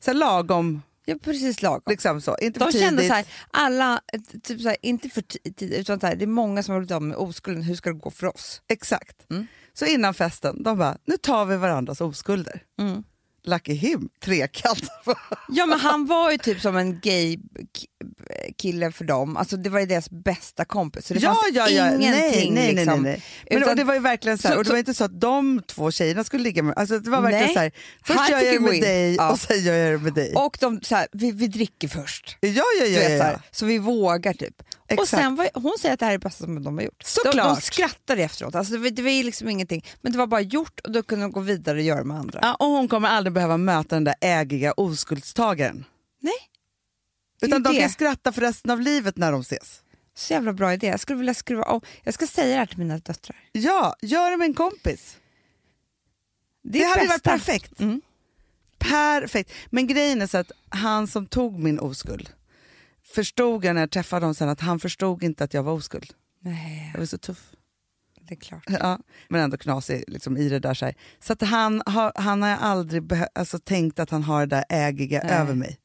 S1: Så här lagom,
S3: Ja, precis lagom.
S1: liksom så. Inte för
S3: De kände
S1: tidigt.
S3: så här, alla, eh, typ så här, inte för ti- tid, utan så här, det är många som har blivit av med oskulden, hur ska det gå för oss?
S1: Exakt.
S3: Mm.
S1: Så innan festen, de bara, nu tar vi varandras oskulder.
S3: Mm.
S1: Lucky him, trekant.
S3: Ja men han var ju typ som en gay k- kille för dem, alltså det var ju deras bästa kompis. Så det fanns ingenting
S1: nej, nej, nej,
S3: liksom.
S1: nej, nej. Men,
S3: Utan-
S1: och det var ju verkligen så här,
S3: Så-
S1: och det var inte så att de två tjejerna skulle ligga med alltså, det var verkligen
S3: Nej.
S1: så här, först
S3: Här
S1: gör jag det
S3: fick vi gå
S1: med
S3: in.
S1: dig
S3: Ja.
S1: och sen gör jag det med dig.
S3: Och de så här, vi, vi dricker först.
S1: ja, ja, ja,
S3: Du
S1: ja,
S3: vet,
S1: ja.
S3: så, här, så vi vågar typ. Och
S1: Exakt.
S3: sen var, hon säger att det här är det bästa som de har gjort. De, de
S1: Såklart.
S3: skrattade efteråt, alltså det, var- det var ju liksom ingenting. Men det var bara gjort och då kunde de gå vidare och göra med andra.
S1: Ja, och hon kommer aldrig behöva möta den där ägiga oskuldstagaren.
S3: Nej. Det är
S1: Utan
S3: ju
S1: de
S3: det.
S1: kan skratta för resten av livet när de ses.
S3: Så jävla bra idé. Jag skulle vilja skruva om. Jag ska säga det här till mina döttrar.
S1: Ja, gör det med en kompis.
S3: Det,
S1: Det,
S3: är
S1: hade ju
S3: bästa.
S1: varit perfekt.
S3: Mm.
S1: Perfekt. Men grejen är så att han som tog min oskuld förstod jag när jag träffade honom sen att han förstod inte att jag var oskuld.
S3: Nej,
S1: Jag var så tuff.
S3: det är klart.
S1: Ja, men ändå knasig liksom, i det där. Så, här. så att han, har, han har aldrig behö- alltså, tänkt att han har det där ägiga
S3: Nej.
S1: över mig.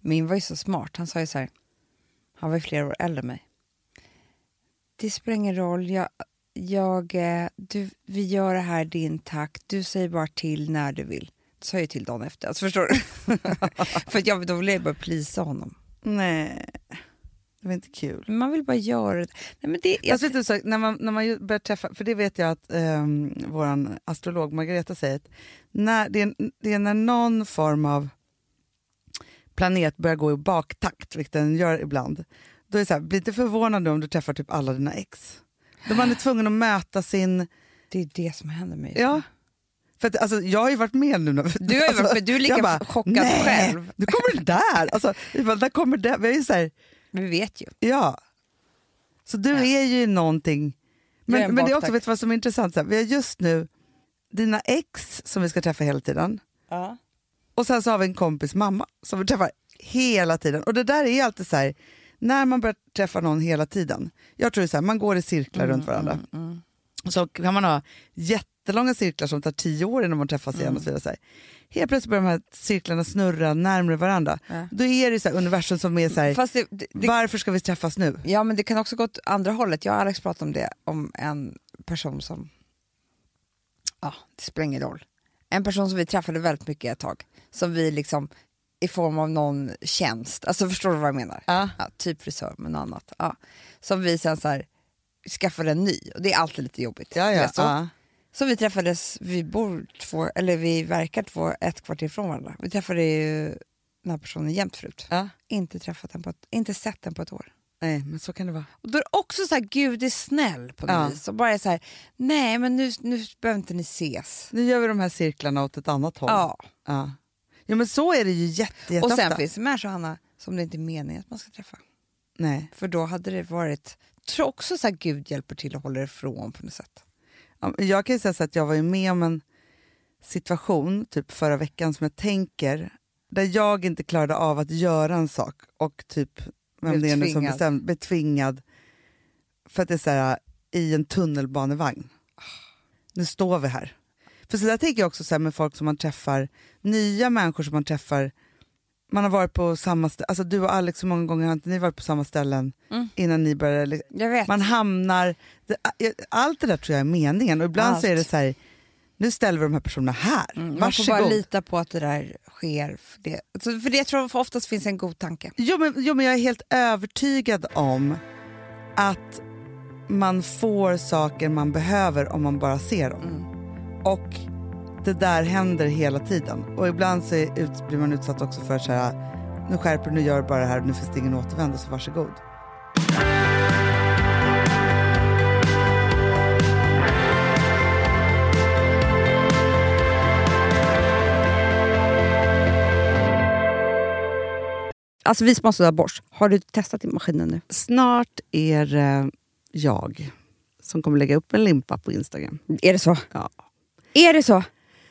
S3: Min var ju så smart. Han sa ju så här, han var ju flera år äldre än mig. Det spelar ingen roll, jag, jag, eh, du, vi gör det här i din takt, du säger bara till när du vill. Det sa jag ju till dagen efter, alltså förstår du? [LAUGHS] För att jag, då ville jag bara plisa honom.
S1: Nej, det var inte kul.
S3: Men man vill bara göra det. Nej, men det jag,
S1: Fast vet du, så, när man, när man ju börjar träffa, för det vet jag att um, vår astrolog Margareta säger, att när, det, är, det är när någon form av planet börjar gå i baktakt, vilket den gör ibland, då är det så här, bli inte förvånad nu om du träffar typ alla dina ex. Då man är tvungen att möta sin...
S3: det är det som händer mig. just nu.
S1: Ja, För att, alltså, jag har ju varit med nu. när-
S3: Du har ju varit
S1: alltså,
S3: med, du är lika
S1: jag
S3: chockad
S1: nej,
S3: själv."
S1: Nu kommer det där! Alltså, jag bara, där kommer det. Men jag är ju så här,
S3: Vi vet ju.
S1: ja. Så du är ju någonting.
S3: Jag är
S1: Men,
S3: en
S1: men det är
S3: baktack.
S1: också, vet du vad som är intressant? Så här, vi har just nu dina ex som vi ska träffa hela tiden.
S2: Ja.
S1: Och sen så har vi en kompis mamma som vi träffar hela tiden. Och det där är alltid så här, när man börjar träffa någon hela tiden. Jag tror det är så här, man går i cirklar
S3: Mm,
S1: runt varandra. Och så kan man ha jättelånga cirklar som tar tio år innan man träffas igen och så
S3: Mm.
S1: vidare. Så här. Helt plötsligt börjar de här cirklarna snurra närmare varandra.
S3: Ja.
S1: Då är det så här universum som är så här,
S3: Fast det, det, det,
S1: varför ska vi träffas nu?
S3: ja, men det kan också gå åt andra hållet. Jag och Alex pratade om det, om en person som... Ja, det spelar ingen roll. En person som vi träffade väldigt mycket ett tag. Som vi liksom, i form av någon tjänst, alltså förstår du vad jag menar?
S1: Ja.
S3: Ja, typ frisör, men något annat. Ja. Som vi sen så här, skaffade en ny. Och det är alltid lite jobbigt.
S1: Ja,
S3: Du
S1: ja,
S3: vet så.
S1: ja.
S3: Så vi träffades, vi bor två, eller vi verkar två, ett kvarter från varandra. Vi träffade ju den här personen jämt förut.
S1: Ja.
S3: Inte, träffat den på ett, inte sett den på ett år.
S1: Nej, men så kan det vara.
S3: Och då är det också så här, Gud är snäll på något
S1: Ja.
S3: vis. Och bara är så här, nej men nu, nu behöver inte ni ses.
S1: Nu gör vi de här cirklarna åt ett annat håll.
S3: Ja.
S1: Ja, ja men så är det ju jätte,
S3: Och
S1: jätteofta.
S3: sen finns det människor, Hanna, som det inte är meningen att man ska träffa.
S1: Nej.
S3: För då hade det varit, tror också så här, Gud hjälper till och håller ifrån på något sätt.
S1: Ja, men Jag kan ju säga så att jag var ju med om en situation typ förra veckan som jag tänker där jag inte klarade av att göra en sak och typ vem
S3: Blev
S1: det är nu som
S3: tvingad.
S1: bestämde, blev tvingad för att det är så här äh, i en tunnelbanevagn. Nu står vi här. För så där tänker jag också så här med folk som man träffar, nya människor som man träffar. Man har varit på samma ställe, alltså du och Alex, hur många gånger har inte ni varit på samma ställen
S3: Mm.
S1: innan ni började li-
S3: Jag vet.
S1: man hamnar... det- Allt det där tror jag är meningen. Och ibland så är det
S3: Allt.
S1: så här, nu ställer vi de här personerna här.
S3: Mm, man får
S1: Varsågod.
S3: bara lita på att det där sker. För det, alltså, för det tror jag oftast finns en god tanke.
S1: jo, men, jo, men jag är helt övertygad om att man får saker man behöver om man bara ser dem.
S3: Mm.
S1: Och det där händer hela tiden. Och ibland så är, ut, blir man utsatt också för så här, nu skärper du, nu gör du bara det här, nu finns det ingen återvändo, så varsågod.
S3: Alltså vi som har sådär borst, har du testat i maskinen nu?
S1: Snart är det jag som kommer lägga upp en limpa på Instagram.
S3: Är det så?
S1: Ja.
S3: Är det så?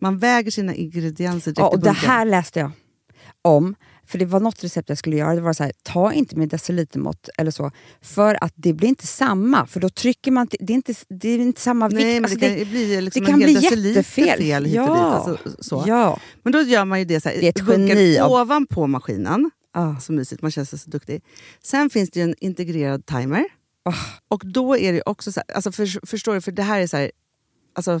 S1: man väger sina ingredienser direkt
S3: Ja, och
S1: i
S3: det
S1: bunken.
S3: här läste jag om. För det var något recept jag skulle göra. Det var så här, ta inte med decilitermått eller så. För att det blir inte samma. För då trycker man... till- Det är inte, det är inte samma vikt.
S1: Nej, men
S3: Alltså,
S1: det kan ju bli liksom
S3: det kan
S1: en hel
S3: bli
S1: deciliter
S3: jättefel.
S1: fel hit och dit.
S3: Ja.
S1: Alltså, så.
S3: Ja.
S1: Men då gör man ju det så här,
S3: Det är ett
S1: bunkar
S3: geni av-
S1: ovanpå maskinen.
S3: Ah.
S1: Så mysigt, man känns så duktig. Sen finns det ju en integrerad timer.
S3: Ah.
S1: Och då är det ju också så här, alltså för, förstår du, för det här är så här, alltså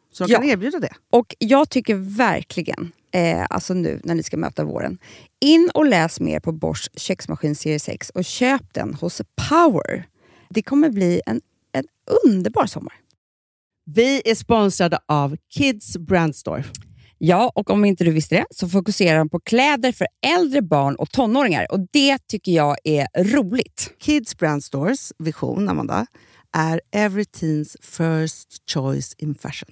S1: Så de
S3: Ja.
S1: kan erbjuda det.
S3: Och jag tycker verkligen, eh, alltså nu när ni ska möta våren, in och läs mer på Bosch köksmaskin serie 6 och köp den hos Power. Det kommer bli en, en underbar sommar.
S1: Vi är sponsrade av Kids Brand Store.
S3: Ja, och om inte du visste det så fokuserar de på kläder för äldre barn och tonåringar och det tycker jag är roligt.
S1: Kids Brand Stores vision, Amanda, är every teens first choice in fashion.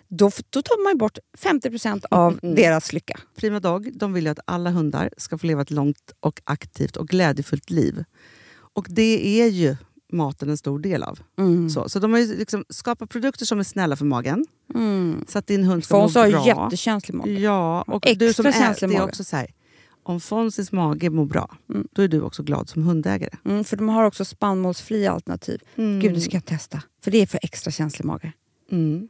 S3: då, f- då tar man ju bort 50% av
S1: Mm.
S3: deras lycka.
S1: Prima Dog de vill ju att alla hundar ska få leva ett långt och aktivt och glädjefullt liv. Och det är ju maten en stor del av.
S3: Mm.
S1: Så, så de har ju liksom skapat produkter som är snälla för magen. Så att din hund Mm. ska
S3: Fons
S1: må
S3: har
S1: bra.
S3: ju jättekänslig mage.
S1: Ja, och
S3: Extra
S1: du som är,
S3: känslig Mm.
S1: det är
S3: mage.
S1: också så här. Om Fonzis mage mår bra, då är du också glad som hundägare.
S3: Mm, för de har också spannmålsfria alternativ. Gud, det ska jag testa. För det är för extra känslig mage.
S1: Mm.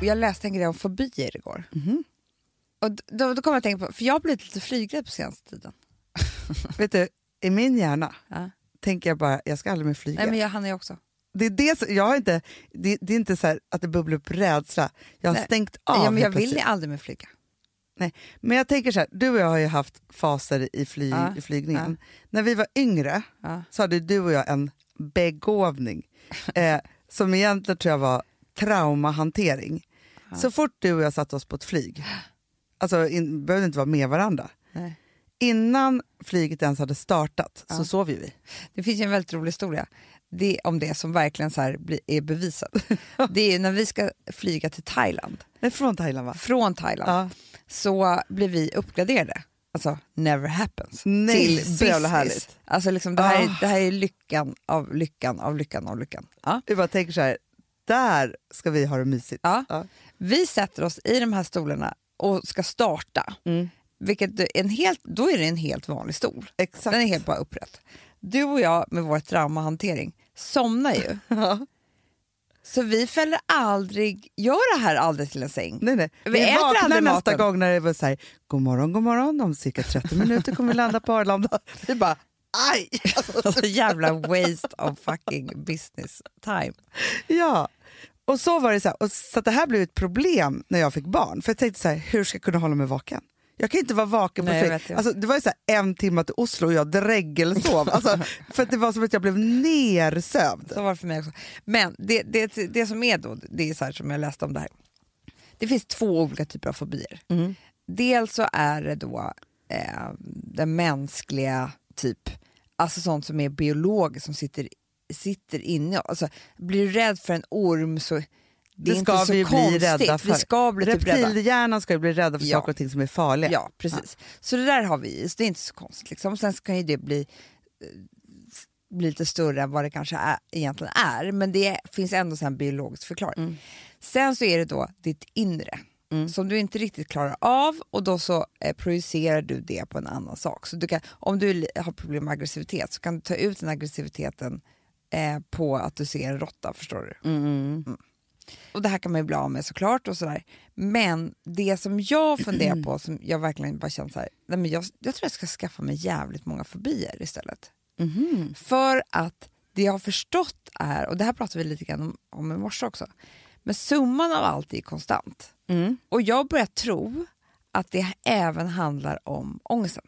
S3: Jag läste en grej om fobier igår. Och då, då kom jag att tänka på, för jag har blivit lite flygrädd på senaste tiden.
S1: Vet du, i min hjärna
S3: Ja.
S1: tänker jag bara, jag ska aldrig mer flyga.
S3: Nej men jag hann ju också.
S1: det, är det, som- jag har inte, det, det är inte så här att det bubblar upp rädsla. Jag har
S3: Nej.
S1: stängt av.
S3: Ja, men jag
S1: helt
S3: vill
S1: plötsligt.
S3: aldrig mer flyga.
S1: Nej. Men jag tänker så här, du och jag har ju haft faser i, fly,
S3: Ja,
S1: i flygningen. När vi var yngre
S3: Ja.
S1: så hade du och jag en
S3: [LAUGHS]
S1: begåvning eh, som egentligen tror jag var traumahantering. Så fort du och jag satte oss på ett flyg, alltså in, behövde inte vara med varandra,
S3: Nej.
S1: innan flyget ens hade startat så sov ju vi.
S4: Det finns ju en väldigt rolig historia det, om det som verkligen så här blir- är bevisat. [LAUGHS] Det är när vi ska flyga till Thailand,
S1: Nej, Från Thailand va?
S4: från Thailand,
S1: Ja.
S4: så blir vi uppgraderade. Alltså, never happens.
S1: Nej,
S4: till
S1: så
S4: business.
S1: jävla härligt.
S4: Alltså, liksom, det, här
S1: Ah.
S4: är, det här är lyckan av lyckan av lyckan av lyckan. Ja.
S1: Vi bara tänker så här, där ska vi ha det mysigt.
S4: Ja.
S1: Ja.
S4: Vi sätter oss i de här stolarna och ska starta. Vilket är en helt, då är det en helt vanlig stol.
S1: Exakt.
S4: Den är helt bara upprätt. Du och jag med vår traumahantering somnar ju. Så vi fäller aldrig, gör det här aldrig till en säng.
S1: Nej, nej. Vi,
S4: Vi äter
S1: vaknar
S4: aldrig
S1: nästa
S4: maten.
S1: gång när det var så här, god morgon, god morgon, om cirka
S3: [LAUGHS]
S1: 30 minuter kommer vi landa på Arlanda. Vi bara, aj!
S4: Alltså jävla waste of fucking business time.
S1: Ja. Och så var det så här, och så att det här blev ett problem när jag fick barn. För jag tänkte så här, hur ska jag kunna hålla mig vaken? Jag kan inte vara vaken på
S3: Nej, jag
S1: fri.
S3: vet, jag vet.
S1: Alltså, det var ju så här en timme till Oslo och jag dregelsov.
S3: [LAUGHS]
S1: Alltså, för att det var som att jag blev nersövd.
S3: Så var det för mig också. Men det, det, det som är då, det är så här som jag läste om det här. Det finns två olika typer av fobier.
S1: Mm.
S3: Dels så är det då eh, den mänskliga typ, alltså sånt som är biologiskt som sitter, sitter inne. Alltså, blir du rädd för en orm så det,
S1: Det
S3: är
S1: ska
S3: inte så
S1: vi
S3: konstigt.
S1: bli rädda för.
S3: Vi ska bli typ rädda.
S1: Reptilhjärnan ska ju bli rädda för
S3: Ja.
S1: saker och ting som är farliga.
S3: Ja, precis. Så det där har vi i, så det är inte så konstigt. Liksom. Sen så kan ju det bli, eh, bli lite större än vad det kanske är, egentligen är, men det finns ändå så här en biologisk förklaring. Sen så är det då ditt inre, som du inte riktigt klarar av och då så eh, projicerar du det på en annan sak. Så du kan, om du li- har problem med aggressivitet så kan du ta ut den aggressiviteten eh, på att du ser en råtta, förstår du? mm.
S1: Mm.
S3: Och det här kan man ju bli av med såklart och sådär. Men det som jag funderar på, som jag verkligen bara känner såhär, nej men jag, jag tror jag ska skaffa mig jävligt många fobier istället.
S1: Mhm.
S3: För att det jag har förstått är, och det här pratade vi lite grann om, om i morse också, men summan av allt är konstant. Och jag börjar tro att det även handlar om ångesten.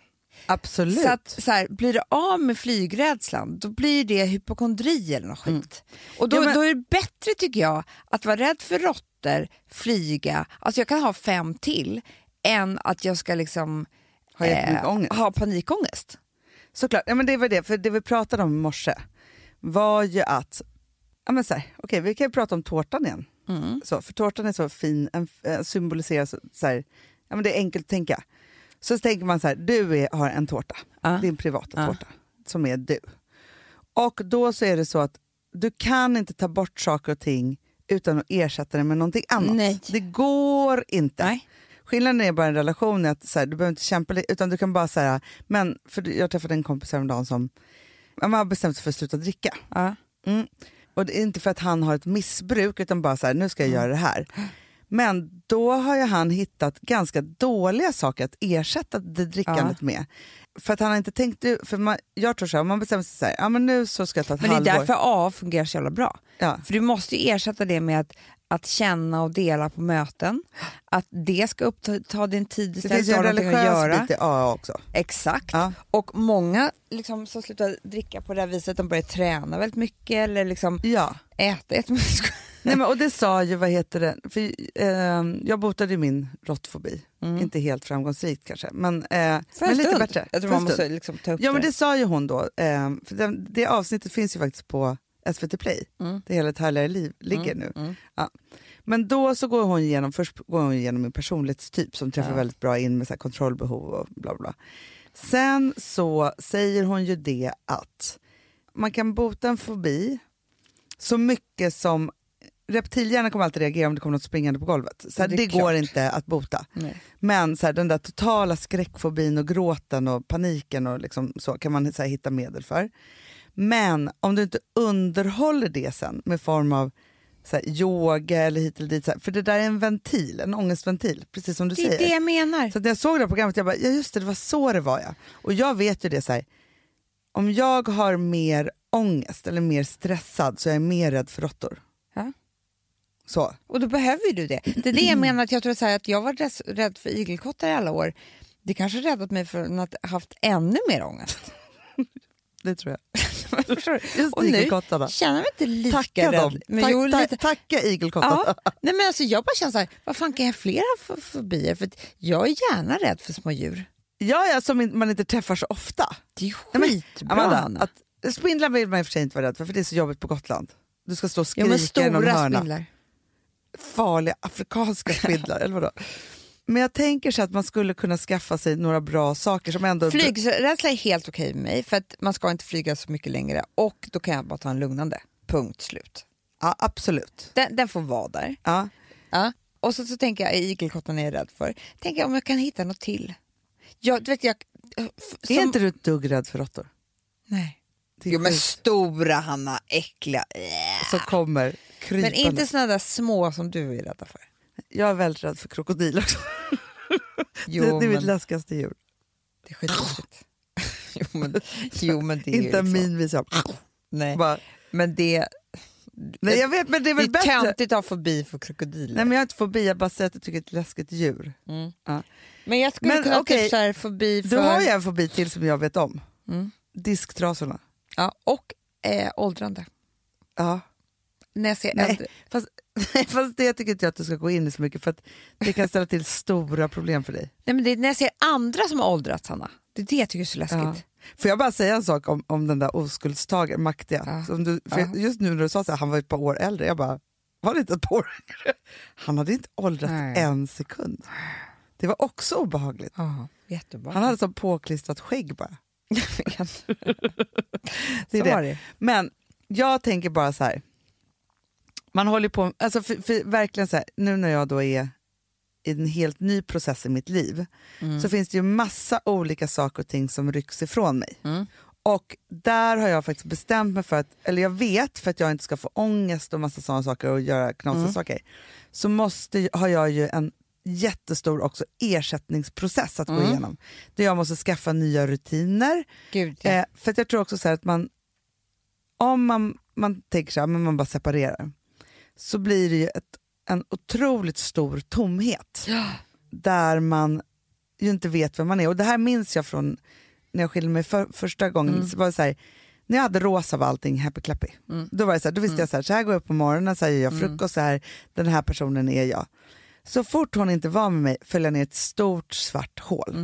S1: Absolut.
S3: Så att, så här, blir det av med flygrädslan, då blir det hypokondri eller något skit. Och då,
S1: Mm. Ja, men-
S3: då är det bättre tycker jag att vara rädd för råttor, flyga, alltså jag kan ha fem till, än att jag ska liksom
S1: Har jättemycket ångest.
S3: ha panikångest.
S1: Såklart, ja, men det var det, för det vi pratade om i morse var ju att, ja, men så här, okej, vi kan ju prata om tårtan igen.
S3: Mm.
S1: Så, för tårtan är så fin, en, en symboliserar så, så här, ja, men det är enkelt att tänka. Så tänker man så här, du är, har en tårta, din privata tårta, som är du. Och då så är det så att du kan inte ta bort saker och ting utan att ersätta det med någonting annat.
S3: Nej.
S1: Det går inte.
S3: Nej.
S1: Skillnaden är bara en relation, är att så här, du behöver inte kämpa, li- utan du kan bara säga, men för jag träffade en kompis häromdagen som ja, man har bestämt sig för att sluta dricka. Mm. Och det är inte för att han har ett missbruk, utan bara så här, nu ska jag göra det här. Men då har ju han hittat ganska dåliga saker att ersätta det drickandet med. För att han har inte tänkt, ut- för man, jag tror så här, om man bestämmer sig så här, ja men nu så ska jag ta ett
S3: Men
S1: halvår.
S3: det är därför AA fungerar så jävla bra.
S1: Ja.
S3: För du måste ju ersätta det med att, att känna och dela på möten, att det ska uppta ta din tid
S1: Det
S3: istället
S1: finns ju
S3: för
S1: en
S3: att ha någonting att
S1: religiös
S3: göra.
S1: bit i AA också.
S3: Exakt.
S1: Ja.
S3: Och många liksom, som slutar dricka på det här viset, de börjar träna väldigt mycket eller liksom
S1: Ja.
S3: äta jättemycket. [LAUGHS]
S1: Nej, men, och det sa ju, vad heter det, för, eh, jag botade ju min råttfobi. Inte helt framgångsrikt kanske, men, eh,
S3: Mm. För en
S1: men lite
S3: stund.
S1: bättre.
S3: Jag tror
S1: För en
S3: man
S1: stund.
S3: måste liksom, ta upp
S1: Ja men
S3: det.
S1: det sa ju hon då, eh, för den, det avsnittet finns ju faktiskt på SVT Play,
S3: Mm.
S1: det hela ett härligare liv ligger nu. Ja. Men då så går hon igenom, först går hon igenom min personlighetstyp som träffar väldigt bra in med så här kontrollbehov och bla bla. Sen så säger hon ju det att man kan bota en fobi så mycket som Reptilhjärnan kommer alltid reagera om det kommer något springande på golvet. Så här,
S3: Det
S1: det
S3: är
S1: går
S3: klart.
S1: inte att bota.
S3: Nej.
S1: Men så här, den där totala skräckfobin och gråten och paniken och liksom så kan man så här, hitta medel för. Men om du inte underhåller det sen med form av så här, yoga eller hit eller dit. Så här, för det där är en ventil, en ångestventil, precis som du
S3: Det är
S1: säger.
S3: det jag menar.
S1: Så att när jag såg det här programmet, jag bara, ja just det, det var så det var ja. Och jag vet ju det så här, om jag har mer ångest eller mer stressad så är jag mer rädd för råttor.
S3: Ja.
S1: Så.
S3: Och då behöver ju du det. Det är det jag menar, att jag tror så här, att jag var rädd- rädd för igelkottar i alla år. Det kanske räddat mig från att haft ännu mer ångest. [LAUGHS]
S1: Det tror jag.
S3: Förstår du?
S1: Just
S3: Och nu
S1: igelkottarna.
S3: känner jag mig inte lika
S1: Tacka
S3: rädd.
S1: dem.
S3: Men
S1: Tack-
S3: jo,
S1: ta-
S3: lite,
S1: Tacka igelkottarna.
S3: Ja, [LAUGHS] nej men alltså jag bara känner så här, vad fan kan jag ha flera fo- fobier? För att jag är gärna rädd för små djur.
S1: Ja, ja, som in- man inte träffar så ofta.
S3: Det är
S1: Nej, men,
S3: skitbra Hanna.
S1: Amanda, att, spindlar vill man i och för sig inte vara rädd för, för det är så jobbigt på Gotland. Du ska stå och
S3: Ja,
S1: skrika
S3: men
S1: genom
S3: stora
S1: hörna.
S3: spindlar.
S1: Farliga afrikanska spindlar, eller vadå? Men jag tänker så att man skulle kunna skaffa sig några bra saker som ändå...
S3: Flygrädsla är helt okej med mig för att man ska inte flyga så mycket längre och då kan jag bara ta en lugnande. Punkt slut.
S1: Ja, absolut.
S3: Den, den får vara där.
S1: Ja.
S3: Ja. Och så, så tänker jag, igelkottarna är jag rädd för. Tänker jag om jag kan hitta något till. Jag, du vet, jag, f-
S1: Är
S3: som-
S1: inte du ett dugg rädd för råttor?
S3: Nej.
S1: Det är
S3: Jo men
S1: sjukt.
S3: stora Hanna, äckliga. Äh.
S1: Som kommer
S3: Men
S1: krypande.
S3: inte sådana där små som du är rädd för.
S1: Jag är väldigt rädd för krokodiler också. [LAUGHS] det, det är mitt läskigaste djur.
S3: Det är skitläskigt. [LAUGHS] jo, men, jo men det är ju
S1: Inte en
S3: liksom-
S1: min vis av-
S3: Nej.
S1: Bara,
S3: Men det...
S1: Nej, jag vet, men det är
S3: Det
S1: väl
S3: är
S1: bättre.
S3: töntigt att ha fobi för krokodiler.
S1: Nej, men jag har inte fobi, jag bara säger att jag tycker det är ett läskigt djur.
S3: Men jag skulle
S1: Men
S3: kunna
S1: okej,
S3: typ så här fobi för... Mm.
S1: Du har ju en fobi till som jag vet om. Disktrasorna.
S3: ja, och eh, åldrande.
S1: Ja.
S3: När jag ser
S1: Nej.
S3: äldre.
S1: Fast, [LAUGHS] fast det tycker inte jag att du ska gå in i så mycket för att det kan ställa till stora problem för dig.
S3: Nej, men det är när jag ser andra som har åldrats, Hanna. Det är det jag tycker är så läskigt.
S1: Ja. Får jag bara säga en sak om, om den där oskuldstagaren, Maktia?
S3: Ja.
S1: Som du, för
S3: Ja.
S1: Just nu när du sa så här, han var ett par år äldre, jag bara, var det inte ett par år äldre? [LAUGHS] Han hade inte åldrats
S3: Nej.
S1: en sekund. Det var också obehagligt.
S3: Ja, jättebra.
S1: Han hade som påklistrat skägg bara.
S3: [LAUGHS] det
S1: är
S3: så
S1: det.
S3: var det.
S1: Men jag tänker bara så här. Man håller på, alltså för, för verkligen så här, nu när jag då är i en helt ny process i mitt liv så finns det ju massa olika saker och ting som rycks ifrån mig. Och där har jag faktiskt bestämt mig för att, eller jag vet för att jag inte ska få ångest och massa sådana saker och göra knasiga saker, så måste, har jag ju en jättestor också ersättningsprocess att gå igenom. Där jag måste skaffa nya rutiner,
S3: Gud, ja.
S1: Eh, för att jag tror också så här att man, om man, man tänker så här, men man bara separerar, så blir det ju ett, en otroligt stor tomhet. Där man ju inte vet vem man är. Och det här minns jag från när jag skilde mig för, första gången.
S3: Mm.
S1: Så var det så här, när jag hade rosa var allting happy clappy.
S3: Mm.
S1: Då var det så här, då visste jag så här, så här går jag upp på morgonen, så här gör jag frukost, så här, den här personen är jag. Så fort hon inte var med mig föll jag ner i ett stort svart hål.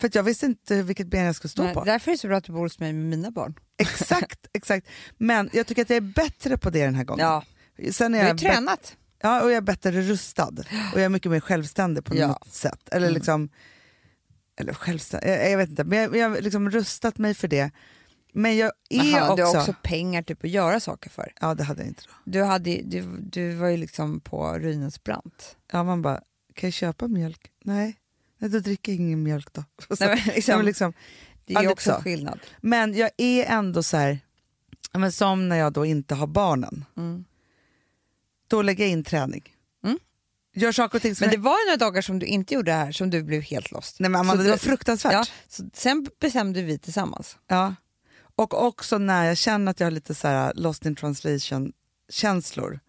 S1: För att jag visste inte vilket ben jag skulle stå
S3: Mm. Nej,
S1: på.
S3: därför är det så bra att du bor hos mig med mina barn. [LAUGHS]
S1: Exakt, exakt. Men jag tycker att jag är bättre på det den här gången.
S3: Ja.
S1: Sen
S3: Du
S1: är
S3: har
S1: jag,
S3: ju
S1: bättre,
S3: tränat.
S1: ja, och jag är bättre rustad och jag är mycket mer självständig på
S3: Ja. Mm.
S1: något sätt. Eller liksom, eller självständig, jag, jag vet inte, men jag, jag har liksom rustat mig för det. Men jag
S3: Men
S1: är
S3: Hanna, Du
S1: också,
S3: har också pengar typ, att göra saker för.
S1: Ja, det hade jag inte då.
S3: Du, hade, ju- du, du var ju liksom på ruinens brant.
S1: Ja, man bara, kan jag köpa mjölk? Nej, Nej då dricker jag ingen mjölk då. [LAUGHS] Och Så,
S3: Nej, men liksom,
S1: men, liksom,
S3: det
S1: ja,
S3: är ju
S1: lite
S3: också
S1: så.
S3: skillnad.
S1: men jag är ändå så här, ja, men som när jag då inte har barnen. Då lägger jag in träning.
S3: Mm.
S1: Gör saker och ting som
S3: Men
S1: jag
S3: det var ju några dagar som du inte gjorde det här som du blev helt lost.
S1: Nej, men Amanda,
S3: Så
S1: det var
S3: du-
S1: fruktansvärt.
S3: Ja,
S1: Ja.
S3: så sen bestämde vi tillsammans.
S1: Och också när jag känner att jag har lite så här uh, lost in translation-känslor,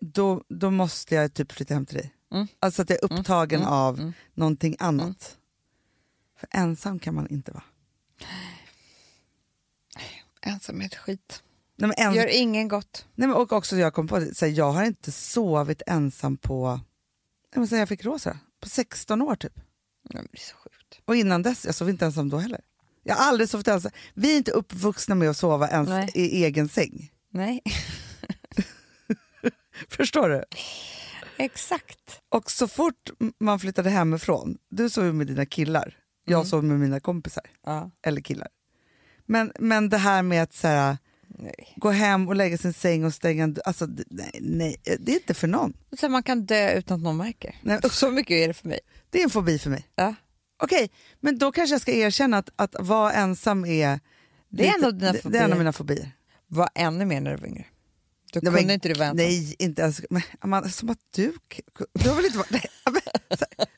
S1: då, då måste jag typ flytta hem till dig.
S3: Mm.
S1: Alltså att jag är upptagen av
S3: mm.
S1: någonting annat. För ensam kan man inte vara.
S3: Ensamhet, skit.
S1: Nej, men ens,
S3: Gör ingen gott.
S1: nej, men och också jag kom på det, så här, jag har inte sovit ensam på, nej, men sen jag fick rosa, på 16 år typ.
S3: Nej, men Det är så sjukt.
S1: Och innan dess, jag sov inte ensam då heller. Jag har aldrig sovit ensam. Vi är inte uppvuxna med att sova ens
S3: Nej.
S1: i egen säng. [LAUGHS]
S3: Nej, [LAUGHS]
S1: Förstår du?
S3: exakt.
S1: Och så fort m- man flyttade hemifrån, du sov ju med dina killar, jag sov med mina kompisar,
S3: Mm. Ja.
S1: eller killar. Men, men det här med att så här,
S3: Nej.
S1: gå hem och lägga sin säng och stänga en d- alltså d- nej, nej, det är inte för någon.
S3: Och sen man kan dö utan att någon märker.
S1: Nej.
S3: Så mycket är det för mig.
S1: Det är en fobi för mig.
S3: Ja.
S1: Okej, men då kanske jag ska erkänna att, att vara ensam är...
S3: Det är en av dina
S1: det, det är en
S3: fobier.
S1: av mina fobier.
S3: Var ännu mer när du var yngre. Då
S1: Nej, men-
S3: kunde inte du vara ensam.
S1: Nej, inte ens... Men, Amanda, som att du... Du har väl inte varit... [LAUGHS] Nej, men, så här,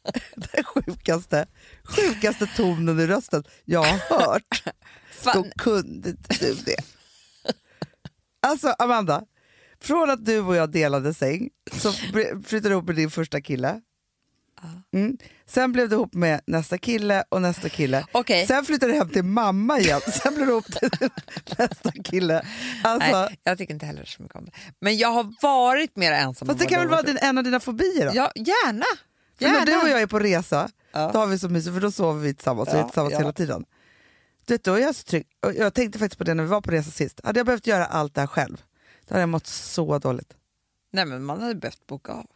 S1: den sjukaste, sjukaste tonen i rösten jag har hört.
S3: Fan,
S1: Då kunde inte du det. Alltså Amanda, från att du och jag delade säng så br- flyttade du ihop med din första kille. Mm. Sen blev du ihop med nästa kille och nästa kille.
S3: Okej.
S1: Sen flyttade du hem till mamma igen. [LAUGHS] Sen blev du ihop till nästa kille. Alltså,
S3: Nej, jag tycker inte heller så mycket om det. Men jag har varit mer ensam.
S1: Fast
S3: än
S1: det kan väl
S3: Mm, vad du har
S1: vara
S3: varit.
S1: din, en av dina fobier? Då?
S3: Ja, gärna.
S1: För när
S3: gärna.
S1: du och jag är på resa,
S3: Ja.
S1: då har vi så mysigt för då sover vi tillsammans, vi är
S3: Ja,
S1: tillsammans
S3: ja.
S1: hela tiden. Du vet, då är jag så trygg. Och jag tänkte faktiskt på det när vi var på resa sist. Hade jag behövt göra allt det här själv, då hade jag mått så dåligt. [LAUGHS]
S3: Nej, men man hade behövt boka av.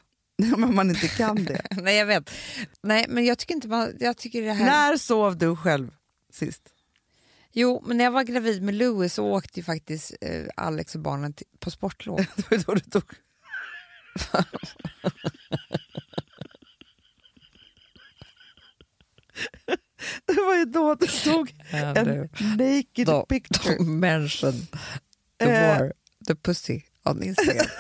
S3: [LAUGHS]
S1: Men man inte kan det.
S3: Nej, jag vet. Nej, men jag tycker inte man... Jag tycker det här...
S1: när sov du själv sist?
S3: Jo, men när jag var gravid med Louis så åkte ju faktiskt eh, Alex och barnen till, på [LAUGHS] sportlov.
S1: Det var [LAUGHS] då du tog... Det var ju då du tog en
S3: du.
S1: naked
S3: Då- [LAUGHS]
S1: picture.
S3: To mention the
S1: Eh.
S3: war, the pussy on Instagram. [LAUGHS]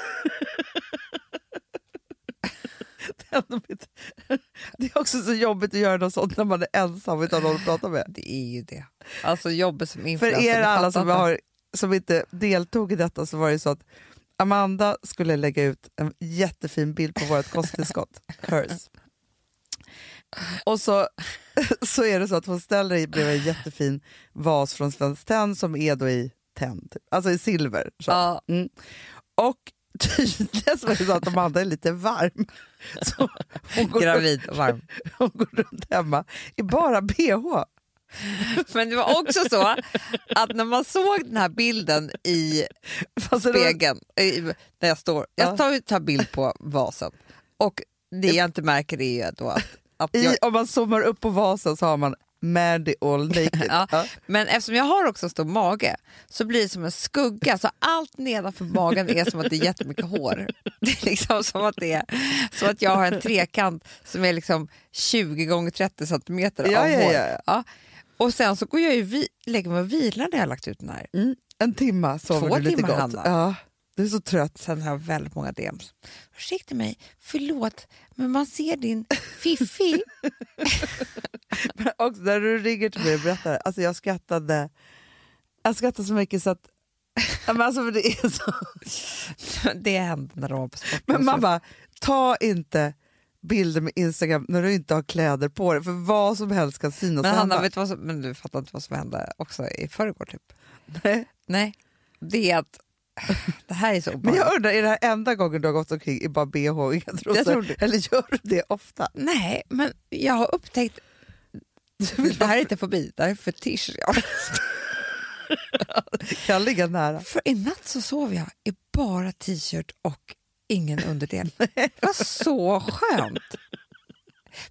S1: ändå mitt- [LAUGHS] Det är också så jobbigt att göra något sånt när man är ensam utan någon att prata med.
S3: det är ju det. Alltså jobbet som
S1: För
S3: influencer.
S1: er
S3: det
S1: alla
S3: fattar
S1: som,
S3: inte.
S1: har, som inte deltog i detta så var det ju så att Amanda skulle lägga ut en jättefin bild på vårt
S3: [LAUGHS]
S1: kosttillskott, hers. Och så, [LAUGHS] så är det så att hon ställer i bredvid en jättefin vas från Svenskt Tenn som är då i tenn, typ. alltså i silver. Så.
S3: Ja.
S1: Mm. Och tydligen så är det så att Amanda är lite varm. Så hon, går runt,
S3: Gravid och varm.
S1: hon går runt hemma i bara bh.
S3: [LAUGHS] Men det var också så att när man såg den här bilden [LAUGHS] i
S1: Fast det var-
S3: spegeln, i, där jag står,
S1: Ja.
S3: jag tar, ju- tar bild på vasen och det jag inte märker är ju då att, att jag,
S1: I, om man zoomar upp på vasen så har man Mandy all naked.
S3: Ja.
S1: [LAUGHS] Ja.
S3: Men eftersom jag har också en stor mage så blir det som en skugga. Så allt nedanför magen är som att det är jättemycket hår. Det är liksom som att, det är, som att jag har en trekant som är liksom 20 gånger 30 centimeter
S1: Ja,
S3: av
S1: ja,
S3: hår.
S1: ja, ja.
S3: Och sen så går jag ju vi, lägger mig och vilar när jag har lagt ut den här.
S1: Mm. En timma sover
S3: Två
S1: du lite
S3: timmar,
S1: gott.
S3: Hanna.
S1: Ja. Du är så trött.
S3: Sen har jag väldigt många DMs. Ursäkta mig, förlåt, men man ser din fiffi.
S1: [LAUGHS]
S3: [LAUGHS]
S1: Och när du ringer till mig och berättar, alltså jag skrattade, jag skrattade så mycket så att [LAUGHS] Ja, men, alltså, för det är så.
S3: det hände när de var på sporten.
S1: [LAUGHS] men mamma, ta inte bilder med Instagram när du inte har kläder på dig, för vad som helst kan synas.
S3: Men Hanna,
S1: hemma.
S3: vet du, vad som, men du fattar inte vad som hände också i förrgår typ?
S1: Nej.
S3: Nej, det är att... [LAUGHS] Det här är så
S1: men
S3: obehagligt.
S1: jag undrar, är det här enda gången du har gått omkring i bara bh och inga
S3: tror
S1: trosor?
S3: det.
S1: Eller gör du det ofta?
S3: Nej, men jag har upptäckt... Det här är inte fobi, det här är fetisch. Jag,
S1: Kan ligga nära.
S3: [LAUGHS] för i natt så sov jag i bara t-shirt och ingen [LAUGHS] underdel. Det var så skönt.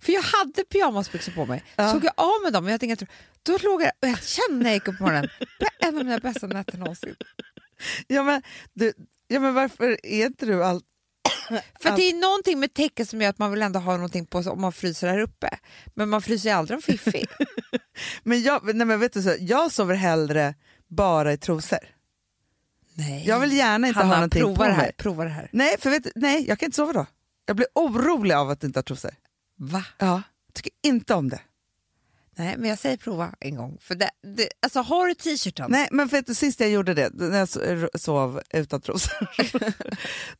S3: För jag hade pyjamasbyxor på mig,
S1: Ja.
S3: såg jag av mig dem och jag tänkte, då låg jag och jag kände när jag gick upp på morgonen, det var en av mina bästa nätter någonsin.
S1: Ja men, du, ja, men varför är inte du all,
S3: För det är någonting med täcken som gör att man vill ändå ha någonting på sig om man fryser här uppe. Men man fryser ju aldrig om fiffig.
S1: Men jag, nej men vet du så, jag sover hellre bara i trosor.
S3: Nej.
S1: Jag vill gärna inte ha
S3: Hanna,
S1: någonting
S3: prova
S1: på
S3: det här.
S1: mig.
S3: Prova det här.
S1: Nej, för vet, du- nej, jag kan inte sova då. Jag blir orolig av att inte ha trosor.
S3: Va?
S1: Ja. Tycker inte om det.
S3: Nej, men jag säger prova en gång. För det, det, alltså har du t-shirten?
S1: Nej, men vet du, sist jag gjorde det, när jag so- sov utan [LAUGHS] trosor,